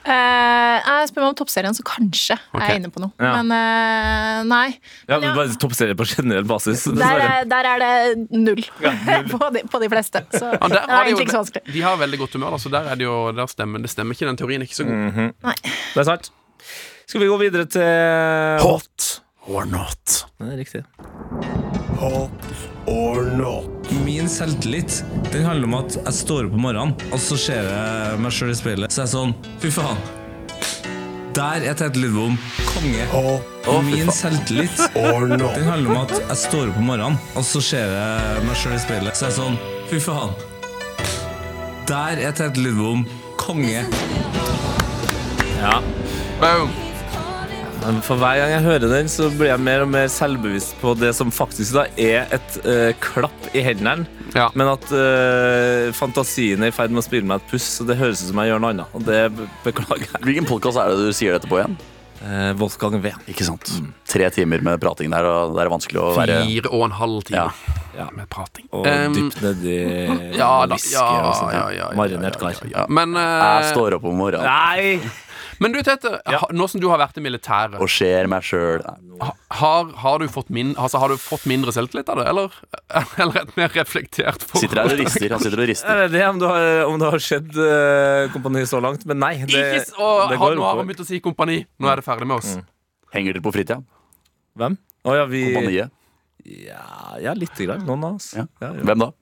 Speaker 5: Eh, jeg Spør meg om toppserien, så kanskje jeg
Speaker 2: Ok.
Speaker 5: er inne på noe.
Speaker 3: Ja.
Speaker 5: Men eh, nei.
Speaker 3: Ja, men bare toppserie på generell basis.
Speaker 5: Der
Speaker 3: dessverre.
Speaker 5: er, der er det null, på, de, på de fleste. Så
Speaker 2: Ja,
Speaker 5: det
Speaker 2: der
Speaker 5: er
Speaker 2: har de,
Speaker 5: egentlig ikke så
Speaker 2: jo,
Speaker 5: vanskelig.
Speaker 2: de har veldig godt humør, da, så der, er det jo, der stemmer det stemmer ikke. Den teorien er ikke så god.
Speaker 3: Mm. Det er sant. Skal vi gå videre til
Speaker 4: Hot or not?
Speaker 3: Det er riktig.
Speaker 6: Min selvtillit den handler om at jeg står opp om morgenen, og så ser jeg meg sjøl i speilet. Så er jeg sånn Fy faen. Der er Tete Lidbom konge. Min selvtillit den handler om at jeg står opp om morgenen, og så ser jeg meg sjøl i speilet. Så er jeg sånn Fy faen. Der er Tete Lidbom konge.
Speaker 2: Boom.
Speaker 3: Men For hver gang jeg hører den, så blir jeg mer og mer selvbevisst på det som faktisk da er et eh, klapp i hendene,
Speaker 2: Ja.
Speaker 3: men at eh, fantasien er i ferd med å spille meg et puss, så det høres ut som jeg gjør noe annet. Og det be- beklager jeg.
Speaker 4: Hvilken podkast er det du sier dette på igjen?
Speaker 3: Eh, Wolfgang V.
Speaker 4: Ikke sant? Tre timer med prating der, og det er vanskelig å være
Speaker 2: Fire og en halv time
Speaker 4: Ja.
Speaker 3: Ja.
Speaker 2: med prating.
Speaker 3: Og
Speaker 2: Em,
Speaker 3: dypt nedi
Speaker 2: ja, da,
Speaker 3: whisky
Speaker 2: ja,
Speaker 3: og sånt.
Speaker 2: ja, ja, ja,
Speaker 3: Marinert
Speaker 2: ja,
Speaker 3: kar.
Speaker 2: ja, ja. Men, eh,
Speaker 4: Jeg står opp om morgenen
Speaker 3: Nei!
Speaker 2: men du, Tete,
Speaker 3: Ja.
Speaker 2: ha- nå som du har vært i militæret,
Speaker 4: og ser meg sjøl.
Speaker 2: ha- har, har, du fått min, altså, har du fått mindre selvtillit av det, eller, eller et mer reflektert forhold?
Speaker 4: Sitter her og rister. Han sitter og rister.
Speaker 3: Jeg vet ikke om du har, om du har sett eh, Kompani så langt, men nei. Det,
Speaker 2: Ikke s- og,
Speaker 3: det
Speaker 2: har, nå
Speaker 3: oppover.
Speaker 2: har han begynt å si kompani. Nå er det ferdig med oss.
Speaker 4: Henger dere på fritida?
Speaker 3: Hvem? Å ja, vi
Speaker 4: Kompaniet?
Speaker 3: Ja, ja lite grann. Noen av oss.
Speaker 4: Ja.
Speaker 3: Ja, ja.
Speaker 4: Hvem da?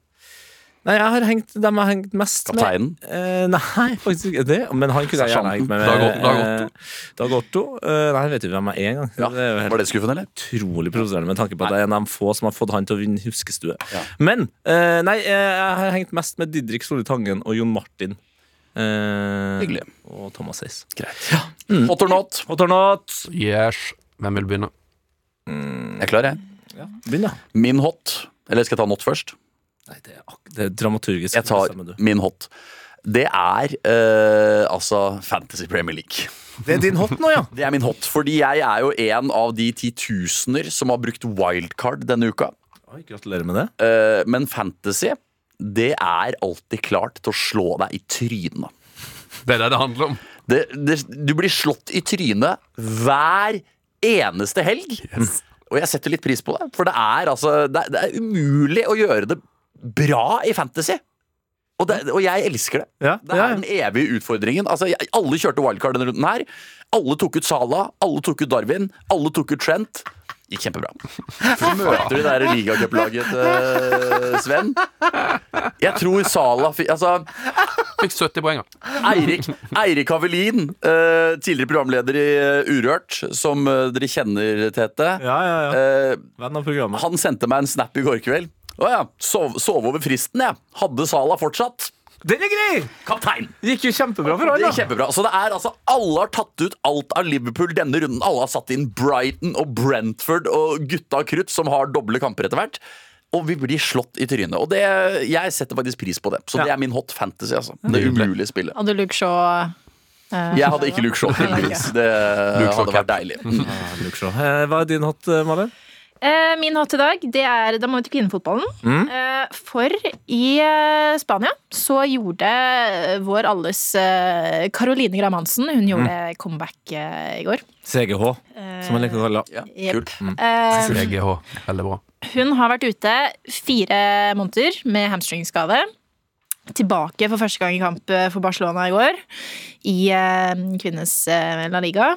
Speaker 3: Nei, jeg har hengt, dem jeg har hengt mest
Speaker 4: Kapteinen?
Speaker 3: med. Eh, nei, faktisk ikke det. Men han kunne jeg gjerne hengt med.
Speaker 2: Dag Otto- Dag Otto.
Speaker 3: Eh, Dag Otto. Eh, nei, han vet jo hvem jeg er engang.
Speaker 4: Ja.
Speaker 3: Det er jo helt
Speaker 4: Var det skuffende, eller?
Speaker 3: utrolig provoserende med tanke på at det er en av de få som har fått han til å vinne huskestue. Men eh, nei, eh, jeg har hengt mest med Didrik Solli Tangen og Jon Martin. Eh,
Speaker 4: Hyggelig.
Speaker 3: Og Thomas Hays.
Speaker 4: Hot or not?
Speaker 3: Og Tornot!
Speaker 2: Yes. Hvem vil begynne?
Speaker 4: Jeg er klar, jeg.
Speaker 3: Begynn, da.
Speaker 4: Min hot. Eller skal jeg ta not først?
Speaker 3: Nei, det er, ak- det er dramaturgisk.
Speaker 4: Jeg tar
Speaker 3: Bestemmer du.
Speaker 4: min hot. Det er eh, altså Fantasy Premier League.
Speaker 3: Det er din hot nå, ja.
Speaker 4: Det er min hot, fordi jeg er jo en av de titusener som har brukt wildcard denne uka.
Speaker 3: Oi, gratulerer med det.
Speaker 4: Eh, men fantasy, det er alltid klart til å slå deg i trynet.
Speaker 2: Det er det det handler om.
Speaker 4: Det, det, du blir slått i trynet hver eneste helg. Og jeg setter litt pris på det, for det er, altså, det, er- det er umulig å gjøre det bra i fantasy. Og, det, og jeg elsker det.
Speaker 3: Ja, ja,
Speaker 4: Det er
Speaker 3: ja.
Speaker 4: den evige utfordringen. Altså, jeg, alle kjørte wildcard denne runden her. Alle tok ut Sala, alle tok ut Darwin, alle tok ut Trent. Gikk kjempebra. Så møter du det der ligacuplaget til Sven. Jeg tror Sala fi- Altså,
Speaker 2: Fikk 70 poeng. da.
Speaker 4: Eirik, Eirik Havelin, eh, tidligere programleder i eh, Urørt, som eh, dere kjenner, Tete.
Speaker 3: Ja, ja, ja.
Speaker 4: Eh,
Speaker 3: Venn av programmet.
Speaker 4: han sendte meg en snap i går kveld. Å ja, sov, sov over fristen, jeg. Hadde Sala fortsatt.
Speaker 3: Den er grei!
Speaker 4: Kaptein!
Speaker 3: Gikk jo kjempebra for
Speaker 4: Det
Speaker 3: han,
Speaker 4: er kjempebra. Så det er altså Alle har tatt ut alt av Liverpool denne runden. Alle har satt inn Brighton og Brentford og gutta krutt, som har doble kamper etter hvert. Og vi blir slått i trynet. Og det, jeg setter faktisk pris på det. Så det er min hot fantasy, altså. Det umulige spillet.
Speaker 5: Hadde Luke Shaw eh,
Speaker 4: Jeg hadde ikke Luke Shaw, heldigvis. Det
Speaker 2: Luke Shaw
Speaker 4: hadde
Speaker 3: Mm.
Speaker 2: cap.
Speaker 3: Eh,
Speaker 4: vært deilig.
Speaker 3: Hva er din hot, Malin?
Speaker 5: Eh, Min hot i dag, det er Da må vi til kvinnefotballen. Eh, For i eh, Spania så gjorde vår alles eh, Caroline Graham Hansen Hun gjorde comeback eh, i går.
Speaker 3: CGH, som man liker å kalle det.
Speaker 5: Jep.
Speaker 4: Kult.
Speaker 5: Eh,
Speaker 2: EGH. Veldig bra.
Speaker 5: Hun har vært ute fire måneder med hamstringskade. Tilbake for første gang i kamp eh, for Barcelona i går, i eh, kvinnenes eh, La Liga.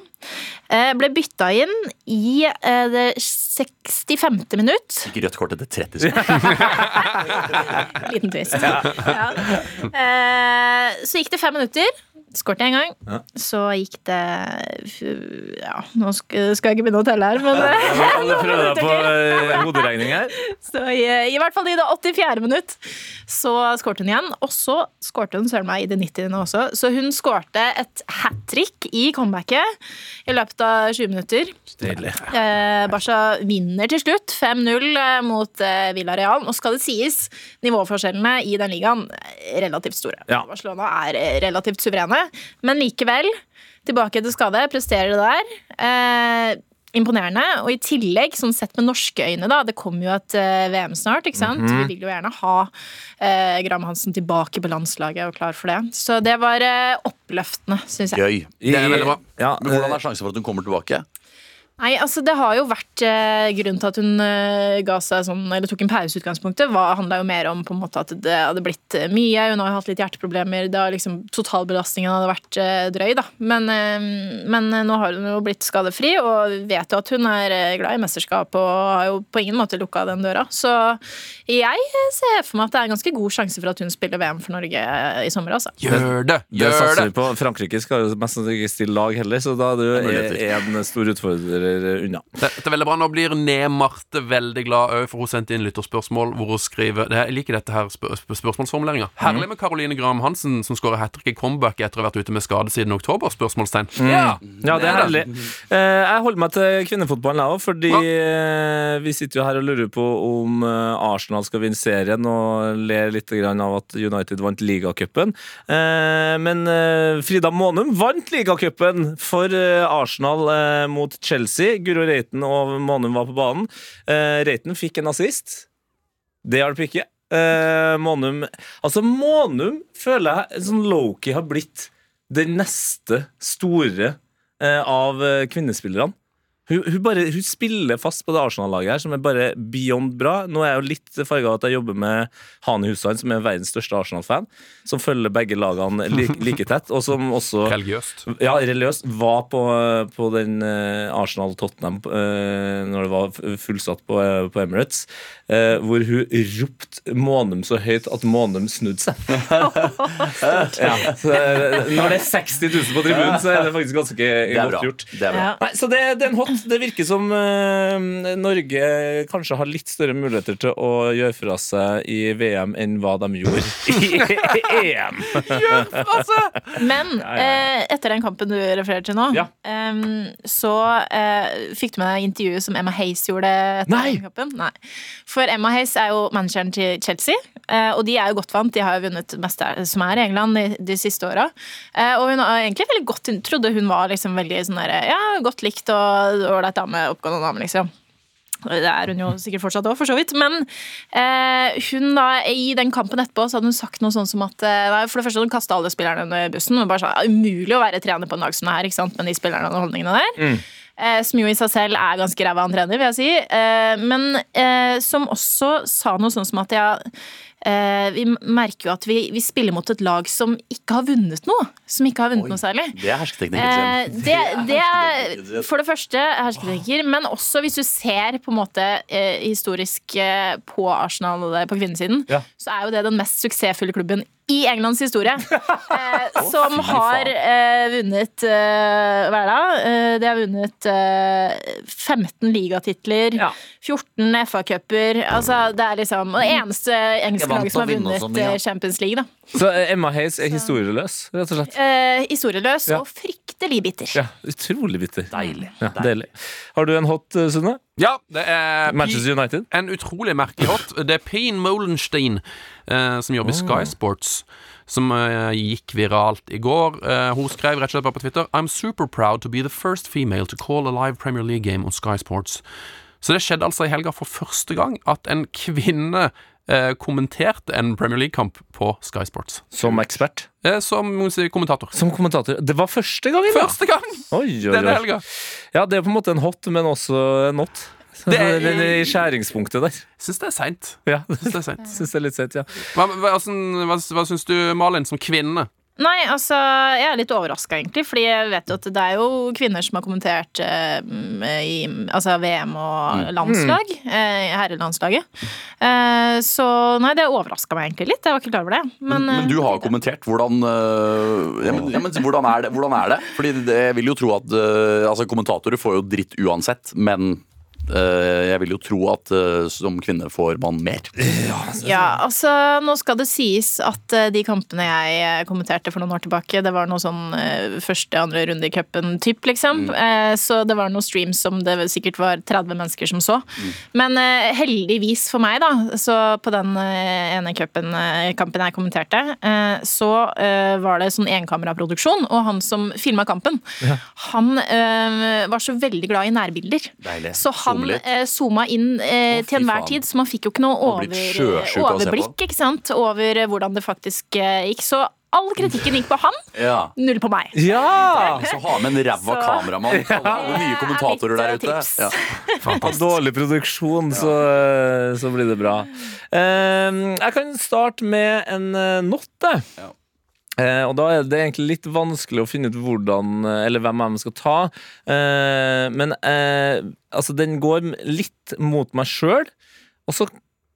Speaker 5: Eh, ble bytta inn i eh, det 65. minutt.
Speaker 4: Ikke rødt kort etter 30 sekunder.
Speaker 5: Liten twist. Ja. Eh, så gikk det fem minutter. Skårte jeg en gang. Så gikk det Ja, nå skal skal jeg ikke begynne å telle her, men
Speaker 3: Alle prøvde deg på eh, hoderegning her.
Speaker 5: Så i, i hvert fall i det 84. minutt så skårte hun igjen. Og så skårte hun søren meg i det 90. også. Så hun skårte et hat trick i comebacket i løpet av 20 minutter.
Speaker 3: Deilig.
Speaker 5: Eh, Barca vinner til slutt 5-0 eh, mot eh, Villarreal. Nå skal det sies, nivåforskjellene i den ligaen er relativt store.
Speaker 3: Ja.
Speaker 5: Barcelona er eh, relativt suverene, men likevel tilbake til skade, presterer det der. Eh, Imponerende. Og i tillegg, sånn sett med norske øyne, da, det kommer jo et eh, VM snart. ikke sant? Vi vil jo gjerne ha eh, Graham Hansen tilbake på landslaget og klar for det. Så det var eh, oppløftende, syns jeg.
Speaker 4: Gøy.
Speaker 2: Det er veldig bra.
Speaker 3: Ja, eh,
Speaker 4: Men hvordan er sjansen for at hun kommer tilbake?
Speaker 5: Nei, altså Det har jo vært eh, grunnen til at hun eh, ga seg sånn, eller tok en pause. i utgangspunktet, var- handla jo mer om på en måte at det hadde blitt eh, mye. Hun har jo hatt litt hjerteproblemer. det har liksom Totalbelastningen hadde vært eh, drøy. da. Men, eh, men eh, nå har hun jo blitt skadefri og vet jo at hun er eh, glad i mesterskap og har jo på ingen måte lukka den døra. Så jeg eh, ser for meg at det er en ganske god sjanse for at hun spiller VM for Norge eh, i sommer. altså.
Speaker 2: Gjør det!
Speaker 3: Det
Speaker 2: Gjør
Speaker 3: satser
Speaker 2: det!
Speaker 3: vi på. Frankrike skal jo mest sannsynlig ikke stille lag heller, så da er du
Speaker 4: Muligheter.
Speaker 3: én stor utfordrer unna.
Speaker 2: Dette er veldig bra. Nå blir Ne Marte veldig glad òg, for hun sendte inn lytterspørsmål hvor hun skriver det, Jeg liker dette her spør spør- spørsmålsformuleringa. Herlig med Caroline Graham Hansen, som skårer hat trick i comeback etter å ha vært ute med skade siden oktober? Spørsmålstegn.
Speaker 3: Mm.
Speaker 2: Ja.
Speaker 3: Ja, det er herlig. Eh, Jeg holder meg til kvinnefotballen, jeg òg, fordi eh, vi sitter jo her og lurer på om eh, Arsenal skal vinne serien, og ler litt grann av at United vant ligacupen. Eh, Men eh, Frida Månum vant ligacupen for eh, Arsenal eh, mot Chelsea. Guro Reiten og Månum var på banen. Eh, Reiten fikk en assist. Det hjalp ikke. Eh, Månum Altså, Månum føler jeg sånn Loki har blitt den neste store eh, av eh, kvinnespillerne. Hun, hun, bare, hun spiller fast på det Arsenal-laget her, som er bare beyond bra. Nå er jeg jo litt farga at jeg jobber med Hani Hussein, som er verdens største Arsenal-fan. Som følger begge lagene like, like tett, og som også
Speaker 2: Religiøst.
Speaker 3: ja, religiøst var på, på den eh, Arsenal-Tottenham eh, når det var f- fullsatt på, eh, på Emirates, eh, hvor hun ropte Månum så høyt at Månum snudde seg. ja, så, eh, når det er 60 000 på tribunen, så er det faktisk ganske
Speaker 4: Det er
Speaker 3: godt
Speaker 4: bra.
Speaker 3: gjort.
Speaker 4: Det er bra.
Speaker 5: Ja.
Speaker 3: Nei, så det, det er en hot. Det virker som eh, Norge kanskje har litt større muligheter til å gjøre fra seg i VM enn hva de gjorde i E EM.
Speaker 5: Men
Speaker 3: Altså! ja, ja.
Speaker 5: Eh, etter den kampen du refererer til nå,
Speaker 3: Ja.
Speaker 5: ehm, så eh, fikk du med deg intervjuet som Emma Hayes gjorde etter
Speaker 3: Nei!
Speaker 5: den kampen. Nei. For Emma Hayes er jo manageren til Chelsea, eh, og de er jo godt vant. De har jo vunnet det meste som er i England de, de siste åra. Eh, og hun har egentlig veldig godt trodde hun var liksom veldig sånn der, ja, godt likt og ålreit dame, oppgående dame, liksom. Det er hun jo sikkert fortsatt òg, for så vidt. Men eh, hun da, i den kampen etterpå så hadde hun sagt noe sånn som at eh, nei, For det første hun kasta alle spillerne under bussen. Hun bare sa ja, umulig å være trener på en dag som det her, ikke sant, med de spillerne og holdningene der. Eh, som jo i seg selv er ganske ræva han trener, vil jeg si. Eh, men eh, som også sa noe sånn som at ja eh, Vi merker jo at vi, vi spiller mot et lag som ikke har vunnet noe. Som ikke har vunnet noe særlig.
Speaker 4: Det er hersketeknikken
Speaker 5: Eh,
Speaker 4: sin.
Speaker 5: det, det er
Speaker 4: hersketeknikken sin.
Speaker 5: for det første hersketeknikker, men også hvis du ser på en måte eh, historisk eh, på Arsenal eh, på kvinnesiden,
Speaker 3: Ja.
Speaker 5: så er jo det den mest suksessfulle klubben i Englands historie. Eh, som
Speaker 4: fy faen.
Speaker 5: har eh, vunnet eh, Hva er det? da? Eh, de har vunnet eh, 15 ligatitler, 14 FA-cuper altså, Det er liksom og det
Speaker 3: Mm.
Speaker 5: eneste engelske
Speaker 4: vant
Speaker 5: laget som
Speaker 4: å
Speaker 5: har
Speaker 4: vinne og
Speaker 5: vunnet
Speaker 4: sånn, ja.
Speaker 5: eh, Champions League. Da.
Speaker 3: Så eh, Emma Hayes er historieløs, rett og slett.
Speaker 5: Eh, historieløs
Speaker 3: Ja.
Speaker 5: og fryktelig bitter.
Speaker 3: Ja, utrolig bitter.
Speaker 4: Deilig.
Speaker 3: Ja, deilig. Har du en hot, eh, Sunne?
Speaker 2: Ja, det er
Speaker 3: Manchester United?
Speaker 2: en utrolig merkelig hot. Det er Payne Molenstein, eh, som jobber i
Speaker 3: Ah.
Speaker 2: Sky Sports, som eh, gikk viralt i går. Eh, hun skrev rett og slett bare på Twitter I'm super proud to be the first female to call a live Premier League game on Sky Sports. Så det skjedde altså i helga for første gang at en kvinne eh, kommenterte en Premier League-kamp på Sky Sports.
Speaker 3: Som ekspert.
Speaker 2: Eh, som må vi si, kommentator.
Speaker 3: Som kommentator. Det var første gangen, ja!
Speaker 2: Første gang
Speaker 3: Oi, oi,
Speaker 2: denne
Speaker 3: oi.
Speaker 2: helga!
Speaker 3: Ja, det er på en måte en hot, men også en not. Så
Speaker 2: Det
Speaker 3: Det
Speaker 2: er-
Speaker 3: er i skjæringspunktet der.
Speaker 2: Syns det er seint.
Speaker 3: Ja,
Speaker 2: Syns det er seint.
Speaker 3: Syns det er litt søtt, ja.
Speaker 2: Hva, hva, hvordan- hva, hva syns du, Malin, som kvinne?
Speaker 5: Nei, altså, jeg er litt overraska, egentlig. Fordi jeg vet jo at det er jo kvinner som har kommentert eh, i altså VM og landslag. Eh, herrelandslaget. Eh, så nei, det overraska meg egentlig litt. Jeg var ikke klar over det. Men,
Speaker 4: Men, men du
Speaker 5: eh,
Speaker 4: har jo kommentert. Hvordan, øh, ja, men, ja, men, hvordan, er det? hvordan er det? Fordi det, jeg vil jo tro at øh, altså, Kommentatorer får jo dritt uansett, men øh, jeg vil jo tro at øh, som kvinne får man mer.
Speaker 5: Ja, altså nå skal det sies at eh, de kampene jeg eh, kommenterte for noen år tilbake, det var noe sånn eh, første, andre runde i cupen typ, liksom. Eh, så det var noen streams som det vel sikkert var 30 mennesker som så. Men eh, heldigvis for meg, da, så på den eh, ene cupen, eh, kampen jeg kommenterte, eh, så eh, var det sånn enkameraproduksjon, og han som filma kampen, han eh, var så veldig glad i nærbilder.
Speaker 4: Deilig.
Speaker 5: Så han
Speaker 4: Zoome litt.
Speaker 5: eh, zooma inn eh,
Speaker 4: Å, fy
Speaker 5: til enhver
Speaker 4: faen.
Speaker 5: tid, så man fikk jo ikke noe
Speaker 4: Man blir
Speaker 5: over,
Speaker 4: sjøsjuk av å se på.
Speaker 5: overblikk ikke sant? over eh, hvordan det faktisk eh, gikk. Så all kritikken gikk på han,
Speaker 4: Ja.
Speaker 5: null på meg.
Speaker 3: Ja!
Speaker 4: Så ha med en ræva
Speaker 5: Så-
Speaker 4: kameramann. Alle nye kommentatorer
Speaker 5: Det er
Speaker 4: der
Speaker 5: mitt, eh,
Speaker 4: ute.
Speaker 5: tips.
Speaker 4: Ja.
Speaker 3: Av dårlig produksjon, så, eh, så blir det bra. Ehm, Jeg kan starte med en eh, not, jeg.
Speaker 4: Ja.
Speaker 3: Eh, Og da er det egentlig litt vanskelig å finne ut hvordan eh, eller hvem jeg skal ta. Eh, Men eh, altså, den går litt mot meg sjøl. Og så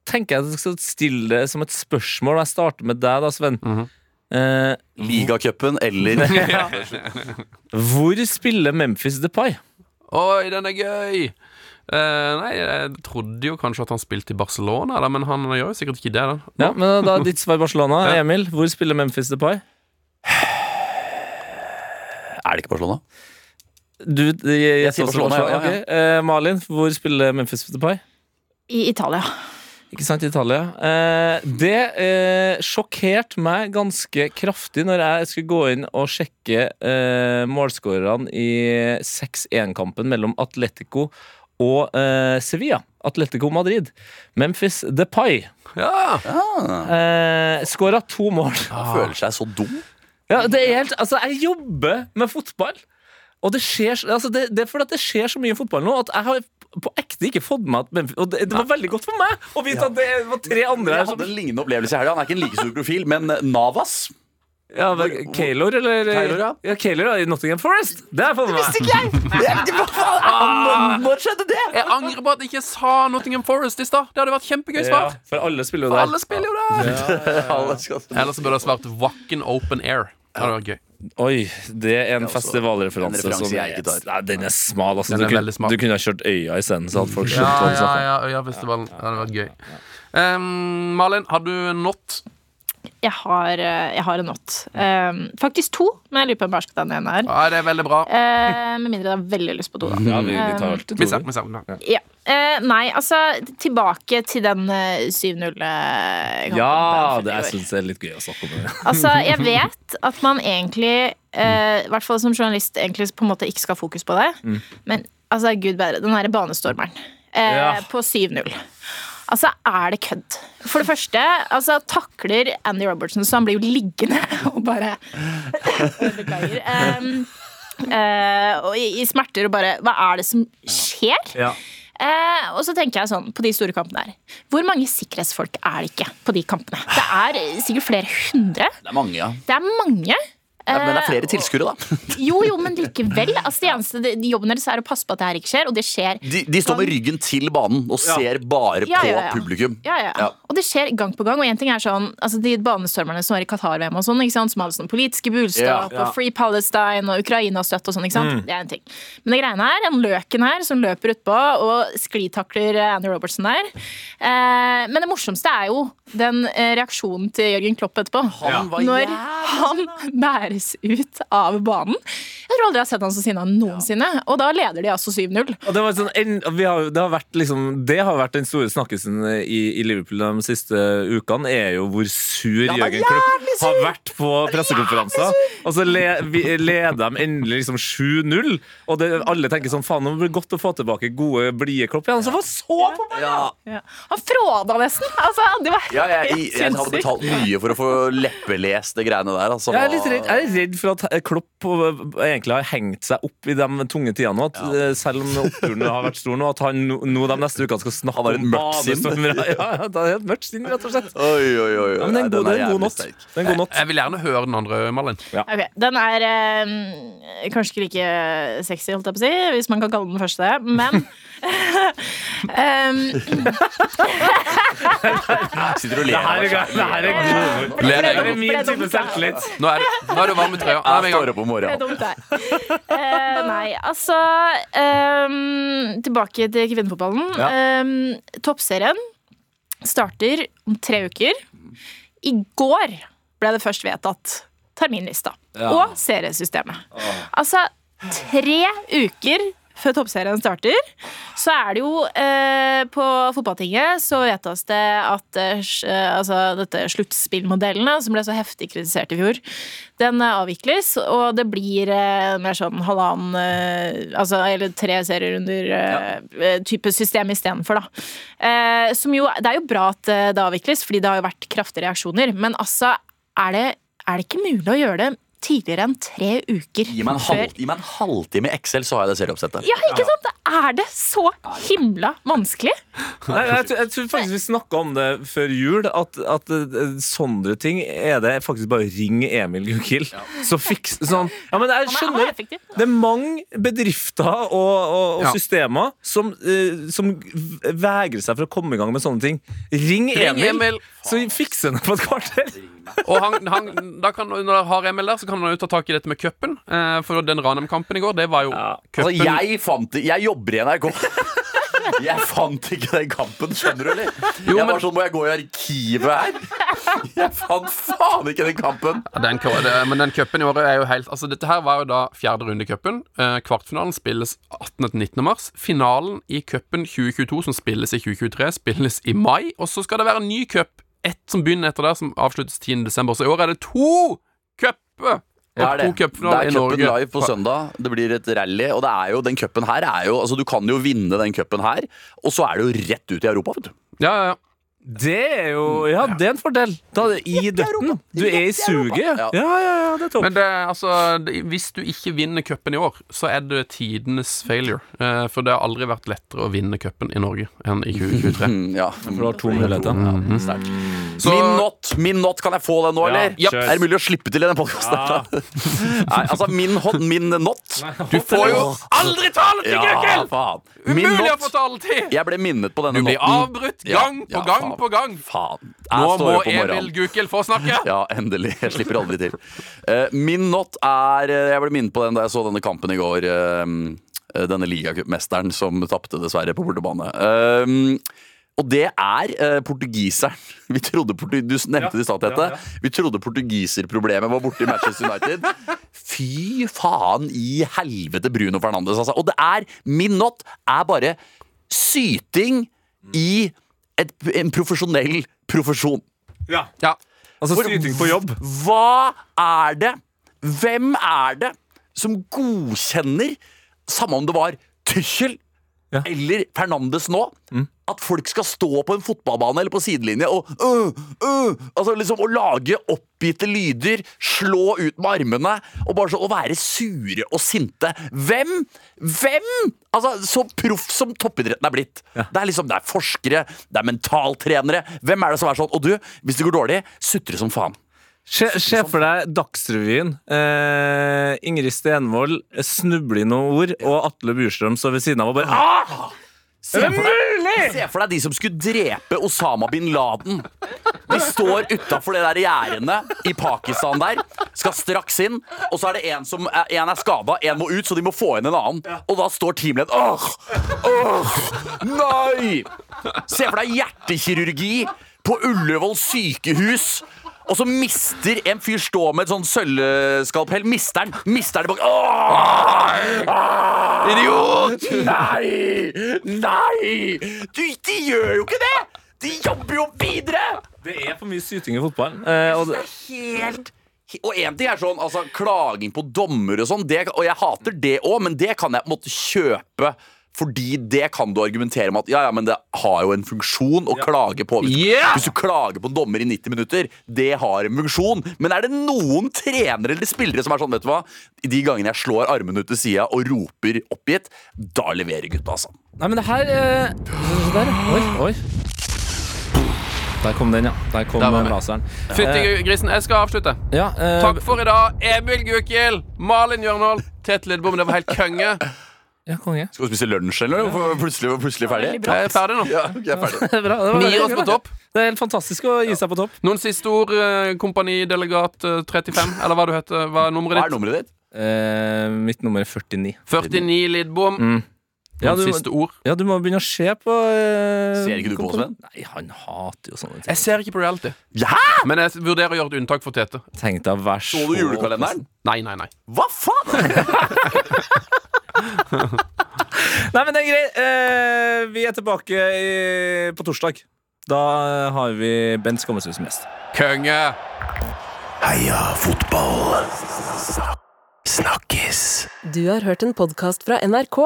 Speaker 3: tenker jeg at jeg skal stille det som et spørsmål. Jeg starter med deg, da, Sven.
Speaker 2: Mhm.
Speaker 3: Eh,
Speaker 4: Ligacupen eller
Speaker 3: Hvor spiller Memphis Depay?
Speaker 2: Oi, den er gøy! Eh, nei, jeg trodde jo kanskje at han spilte i Barcelona, da, men han gjør jo sikkert ikke det. Da.
Speaker 3: Ja, men da er ditt svar Barcelona.
Speaker 2: Ja.
Speaker 3: Emil, hvor spiller Memphis Depay?
Speaker 4: Er det ikke Barcelona?
Speaker 3: Du, jeg, jeg,
Speaker 4: sier Barcelona, ja, ja, ja.
Speaker 3: Ok. Eh, Malin, hvor spiller Memphis Depay?
Speaker 5: I Italia.
Speaker 3: Ikke sant, Italia. Eh, det eh, sjokkerte meg ganske kraftig når jeg skulle gå inn og sjekke eh, målskårerne i 6-1-kampen mellom Atletico og eh, Sevilla. Atletico Madrid. Memphis Depay
Speaker 2: Ja!
Speaker 3: eh, skåra to mål.
Speaker 4: Han føler seg så dum.
Speaker 3: Ja, det er helt, altså Jeg jobber med fotball. Og det skjer, altså det, det er fordi at det skjer så mye i fotball nå at jeg har på ekte ikke fått med at Memphis Og det, det var veldig godt for meg å vite at det sånn- var tre andre
Speaker 4: Jeg
Speaker 3: her
Speaker 4: hadde
Speaker 3: som
Speaker 4: en lignende opplevelse i helga. Han er ikke en like stor profil, men eh, Navas
Speaker 3: ja, men Kaylor, eller?
Speaker 4: Keylor, ja.
Speaker 3: ja Kaylor, ja, i Nottingham Forest. Det har jeg fått med meg.
Speaker 4: Når skjedde det?
Speaker 2: Jeg angrer på at jeg ikke sa Nottingham Forest i stad. Det hadde vært kjempegøy
Speaker 3: Ja,
Speaker 2: svar.
Speaker 3: for alle spiller jo
Speaker 2: For
Speaker 3: der.
Speaker 2: alle spiller jo der.
Speaker 4: Alle skal-
Speaker 2: Ellers så burde jeg svart Wacken Open Air. Det hadde vært gøy.
Speaker 3: Oi, det er en
Speaker 4: altså, en
Speaker 3: festivalreferanse
Speaker 4: referanse
Speaker 3: som
Speaker 4: jeg ikke tar.
Speaker 3: Nei, Den er smal, altså.
Speaker 2: Den
Speaker 3: Du
Speaker 2: er
Speaker 3: kunne,
Speaker 2: veldig smal.
Speaker 3: du kunne ha kjørt Øya isteden, så hadde folk skjønt
Speaker 2: Ja,
Speaker 3: hva du
Speaker 2: ja,
Speaker 3: snakket om.
Speaker 2: ja, Øyafestivalen. Det hadde vært gøy. Em, Malin, har du not?
Speaker 5: Jeg har, eh, jeg har en not. Eh, faktisk to, men jeg lurer på om jeg bare skal ta den ene her.
Speaker 2: Ja, det er veldig bra.
Speaker 5: Eh, med mindre det er veldig lyst på do, da.
Speaker 3: Ja, vi, vi tar alltid
Speaker 2: Vi
Speaker 3: to.
Speaker 2: ser, vi ser.
Speaker 5: Ja. Eh, nei, altså tilbake til den eh, 7-0-kampen.
Speaker 3: Ja, det, jeg syns det er litt gøy å snakke om. det
Speaker 5: Altså, jeg vet at man egentlig, eh, i hvert fall som journalist, egentlig på en måte ikke skal ha fokus på det. Men altså, gud bedre, den derre banestormeren eh,
Speaker 3: Ja.
Speaker 5: på 7-0. Altså, er det kødd? For det første, altså, takler Andy Robertson, så han blir jo liggende og bare Beklager. Em, eh, og i, i smerter og bare Hva er det som skjer? Eh, og så tenker jeg sånn, på de store kampene her Hvor mange sikkerhetsfolk er det ikke på de kampene? Det er sikkert flere hundre.
Speaker 4: Det er mange, ja.
Speaker 5: Det er mange.
Speaker 4: Ja, Men det er
Speaker 5: Eh,
Speaker 4: flere tilskuere, da.
Speaker 5: Jo, jo, men likevel. Altså, det eneste de, de jobben deres er å passe på at det her ikke skjer, og det skjer.
Speaker 4: De, de står med ryggen til banen og ser bare
Speaker 5: Ja, ja, ja.
Speaker 4: på publikum.
Speaker 5: Ja, ja.
Speaker 4: Ja.
Speaker 5: Og det skjer gang på gang. Og en ting er sånn, altså De banestormerne som var i Qatar-VM, og sånn, ikke sant? som hadde sånn politiske budskap,
Speaker 4: Ja, ja.
Speaker 5: og Free Palestine og Ukraina-støtte og sånn. ikke sant? Det er en ting. Men det greiene her, den løken her som løper utpå og sklitakler eh, Andy Robertson der eh, Men det morsomste er jo den eh, reaksjonen til Jørgen Klopp etterpå.
Speaker 4: Han var sånn,
Speaker 5: Når han bærer kjøres ut av banen. Jeg tror aldri jeg har sett han så sinna noensinne. Og da leder de altså
Speaker 3: Og
Speaker 5: 7-0.
Speaker 3: det, var sånn, en, vi har, det, har vært liksom, det har vært den store snakkesen i, i Liverpool de siste ukene, er jo hvor sur Jørgen Klopp har vært på pressekonferanser. Og så le, vi, leder de endelig liksom 7-0, og det, alle tenker sånn faen, nå blir det godt å få tilbake gode, blide Klopp igjen. Så var så på
Speaker 4: Ja,
Speaker 5: Ja. Han fråda nesten! Altså, det var
Speaker 4: ja jeg, jeg,
Speaker 5: helt
Speaker 4: hadde
Speaker 5: sinnssykt.
Speaker 4: betalt mye for å få leppelest det greiene der. Altså.
Speaker 3: Jeg er litt redd, jeg er redd for at Klopp eh, egentlig har hengt seg opp i de tunge tidene nå. At, eh, Selv om oppturene har vært store nå, at han nå nå de neste ukene skal snakke
Speaker 4: Han har et
Speaker 3: om
Speaker 4: mørkt sinn.
Speaker 3: badestormere. Ja, ja, det er et mørkt sinn, rett og slett.
Speaker 4: Oi, oi, oi. oi.
Speaker 3: Ja, men det er en god, det er en god
Speaker 4: jævlig
Speaker 3: natt.
Speaker 4: sterk.
Speaker 3: Det er en god natt.
Speaker 2: Jeg vil gjerne høre den andre, Malin.
Speaker 5: Ok, Den er eh, kanskje ikke like sexy, holdt jeg på å si, hvis man kan kalle den første det, men Em,
Speaker 4: Sitter og ler.
Speaker 3: Det her er god
Speaker 5: for det- for det er
Speaker 2: Det
Speaker 5: dumt, for det er dumt, det er-
Speaker 2: Nå er det, nå er det varm i trøya. Nå er vi
Speaker 4: Jeg
Speaker 2: i gang.
Speaker 4: står opp om
Speaker 5: Det er
Speaker 4: morgenen.
Speaker 5: dumt, det. Eh, nei, altså em, Tilbake til kvinnefotballen.
Speaker 3: Ja.
Speaker 5: Em, toppserien starter om tre uker. I går ble det først vedtatt terminlista og seriesystemet. Altså, tre uker før toppserien starter, så er det jo eh, På fotballtinget så vedtas det at eh, s- eh, altså, dette sluttspillmodellene, som ble så heftig kritisert i fjor, den eh, avvikles, og det blir eh, mer sånn halvannen eh, altså, Eller tre serierunder eh, eh, type system istedenfor, da. Eh, som jo, det er jo bra at eh, det avvikles, fordi det har jo vært kraftige reaksjoner, men altså, er det, er det ikke mulig å gjøre det tidligere enn tre uker
Speaker 4: Gi meg en,
Speaker 5: før?
Speaker 4: halv, gi meg en halvtime i Excel, så har jeg det serieoppsettet.
Speaker 5: Ja, ikke sant? Er det så himla vanskelig?
Speaker 3: Nei, jeg, tror- jeg tror faktisk vi snakka om det før jul, at, at eh, sånne ting er det faktisk bare å ringe Emil Gukild, så fiks sånn. Ja, men jeg
Speaker 5: Han er, han er
Speaker 3: skjønner
Speaker 5: effektiv.
Speaker 3: det er mange bedrifter og, og, og
Speaker 2: Ja.
Speaker 3: systemer som, eh, som vegrer seg for å komme i gang med sånne ting. Ring
Speaker 2: Ring
Speaker 3: Emil,
Speaker 2: Emil.
Speaker 3: så fikser han det på et kvarter!
Speaker 2: Og han, han, da kan, når det har Emil der, så kan han jo ta tak i dette med cupen. Eh, for den Ranheim-kampen i går, det var jo
Speaker 4: Altså,
Speaker 2: cupen.
Speaker 4: jeg fant det Jeg jobber i NRK. Jeg fant ikke den kampen, skjønner du, eller? jeg
Speaker 2: men-
Speaker 4: var sånn, Må jeg gå i arkivet her? Jeg fant faen ikke den kampen!
Speaker 2: Ja, den, kø- det- men den cupen i året er jo helt Altså, dette her var jo da fjerde runde i cupen. Eh, kvartfinalen spilles 18.-19. mars. Finalen i cupen 2022, som spilles i 2023, spilles i mai. Og så skal det være en ny cup, ett som begynner etter der, som avsluttes 10. desember. Så i år er det to cuper!
Speaker 4: Det er
Speaker 2: Og
Speaker 4: det.
Speaker 2: to
Speaker 4: Det
Speaker 2: cupfinaler
Speaker 4: er
Speaker 2: i
Speaker 4: cupen
Speaker 2: Norge.
Speaker 4: live på søndag. Det blir et rally. Og det er jo, den cupen her er jo Altså, du kan jo vinne den cupen her, og så er det jo rett ut i Europa, vet du.
Speaker 2: Ja, ja, ja.
Speaker 3: Det er jo Ja, det er en fordel. Da er det Mm. i døtten. Du er i suget. Ja,
Speaker 4: Ja.
Speaker 3: ja, ja, ja det er topp.
Speaker 2: Men det, er, altså, det, hvis du ikke vinner cupen i år, så er det tidenes failure. Eh, for det har aldri vært lettere å vinne cupen i Norge enn i 2023.
Speaker 4: Mm, ja.
Speaker 3: For du har to muligheter.
Speaker 2: Mm-hmm. Mm. Så-
Speaker 4: Min not, min not, kan jeg få den
Speaker 3: Ja,
Speaker 4: nå, eller?
Speaker 3: kjør.
Speaker 4: Er det mulig å slippe til i den podkasten? Nei, altså, min, hot, min not
Speaker 2: Du får jo aldri talen til,
Speaker 4: Ja,
Speaker 2: Gøkkel!
Speaker 4: faen. Min
Speaker 2: Umulig å få
Speaker 4: not.
Speaker 2: talen til!
Speaker 4: Jeg ble minnet på denne
Speaker 2: Du blir
Speaker 4: noten.
Speaker 2: avbrutt
Speaker 4: Ja,
Speaker 2: gang på
Speaker 4: ja,
Speaker 2: gang
Speaker 4: faen.
Speaker 2: på gang.
Speaker 4: Faen.
Speaker 2: Nå
Speaker 4: Jeg står
Speaker 2: må
Speaker 4: opp om
Speaker 2: Emil
Speaker 4: morgenen.
Speaker 2: Gukild få snakke.
Speaker 4: Ja, endelig. Jeg slipper aldri til. Eh, min not er eh, Jeg ble minnet på den da jeg så denne kampen i går. eh, eh, denne ligacupmesteren som tapte, dessverre, på bortebane. Eh, og det er eh, portugiseren. Vi trodde portu du nevnte det i stad, Tete. Vi trodde portugiserproblemet var borte i Manchester United. Fy faen i helvete, Bruno Fernandes, altså. Og det er Min not er bare syting i et, en profesjonell profesjon.
Speaker 2: Ja.
Speaker 3: Altså syting på jobb.
Speaker 4: Hva er det? Hvem er det som godkjenner, samme om det var Tyskjel
Speaker 3: Ja.
Speaker 4: eller Fernandes nå, at folk skal stå på en fotballbane eller på sidelinje og øh, øh, altså liksom å lage oppgitte lyder, slå ut med armene og bare så, å være sure og sinte. Hvem? Hvem? Altså, Så proff som toppidretten er blitt. Det er liksom, det er forskere, det er mentaltrenere. Hvem er det som er sånn? Og du, hvis det går dårlig, sutre som faen.
Speaker 3: Se, se for deg Dagsrevyen. Eh, Ingrid Stenvold snubler i noen ord, og Atle Bjurstrøm står ved siden av og bare ah!
Speaker 4: Se for, deg, se for deg de som skulle drepe Osama bin Laden. De står utafor det der gjerdet i Pakistan der, skal straks inn. Og så er det en som er, en er skada, en må ut, så de må få inn en annen. Og da står teamlederen Åh! Åh! Nei! Se for deg hjertekirurgi på Ullevål sykehus. og så mister en fyr stå med et sånn sølvskalpell. Mister den! Mister den bak Åh! Åh! Idiot! Nei! Nei! Du, de gjør jo ikke det! De jobber jo videre!
Speaker 3: Det er for mye syting i fotballen. Eh, og det,
Speaker 4: helt og en ting er sånn, altså Klaging på dommer og sånn, det- og jeg hater det òg, men det kan jeg på en måte kjøpe. Fordi det kan du argumentere med at ja, ja, men det har jo en funksjon å klage på. Hvis, du-
Speaker 2: Yeah!
Speaker 4: hvis du klager på en dommer i 90 minutter, det har en funksjon. Men er det noen trenere eller spillere som er sånn, vet du hva I De gangene jeg slår armene ut til sida og roper oppgitt, da leverer gutta, altså.
Speaker 3: nei, men det her eh, se Der, ja. oi, oi. Der kom den, ja. Der kom
Speaker 2: Der var
Speaker 3: eh,
Speaker 2: vi.
Speaker 3: laseren.
Speaker 2: Fytti grisen, jeg skal avslutte.
Speaker 3: Ja, eh,
Speaker 2: Takk for i dag, Emil Gukild, Malin Jørnhold, Tete Lidbom. Det var helt konge.
Speaker 3: ja, konge.
Speaker 4: Skal vi spise lunsj, eller? Hvorfor plutselig, plutselig ferdig?
Speaker 2: Jeg er ferdig nå.
Speaker 4: Ja, jeg er ferdig.
Speaker 3: Det er bra. Det var
Speaker 2: Vi gir
Speaker 3: veldig
Speaker 2: oss
Speaker 3: bra.
Speaker 2: på topp.
Speaker 3: Det er helt fantastisk å gi seg på topp.
Speaker 2: Noen siste ord, eh, kompanidelegat eh, 35, eller hva du heter. Hva er nummeret
Speaker 4: Hva er
Speaker 2: ditt?
Speaker 4: nummeret ditt?
Speaker 3: Eh, mitt nummer er 49.
Speaker 2: 49 Lidbom. Noen
Speaker 3: Ja, du-
Speaker 2: siste ord.
Speaker 3: Ja, du må begynne å se på eh,
Speaker 4: Ser ikke du på oss, venn?
Speaker 3: Nei, han hater jo sånne ting.
Speaker 2: Jeg ser ikke på reality,
Speaker 4: Ja!
Speaker 2: men jeg vurderer å gjøre et unntak for Tete.
Speaker 3: Tenk deg, vær så
Speaker 4: Så du julekalenderen?
Speaker 2: Nei, nei, nei.
Speaker 4: Hva faen?
Speaker 3: Nei, men det er greit. Eh, vi er tilbake i, på torsdag. Da har vi Bent Skammersrud som gjest.
Speaker 2: Konge!
Speaker 4: Heia fotball! Snakkes!
Speaker 1: Du har hørt en podkast fra NRK.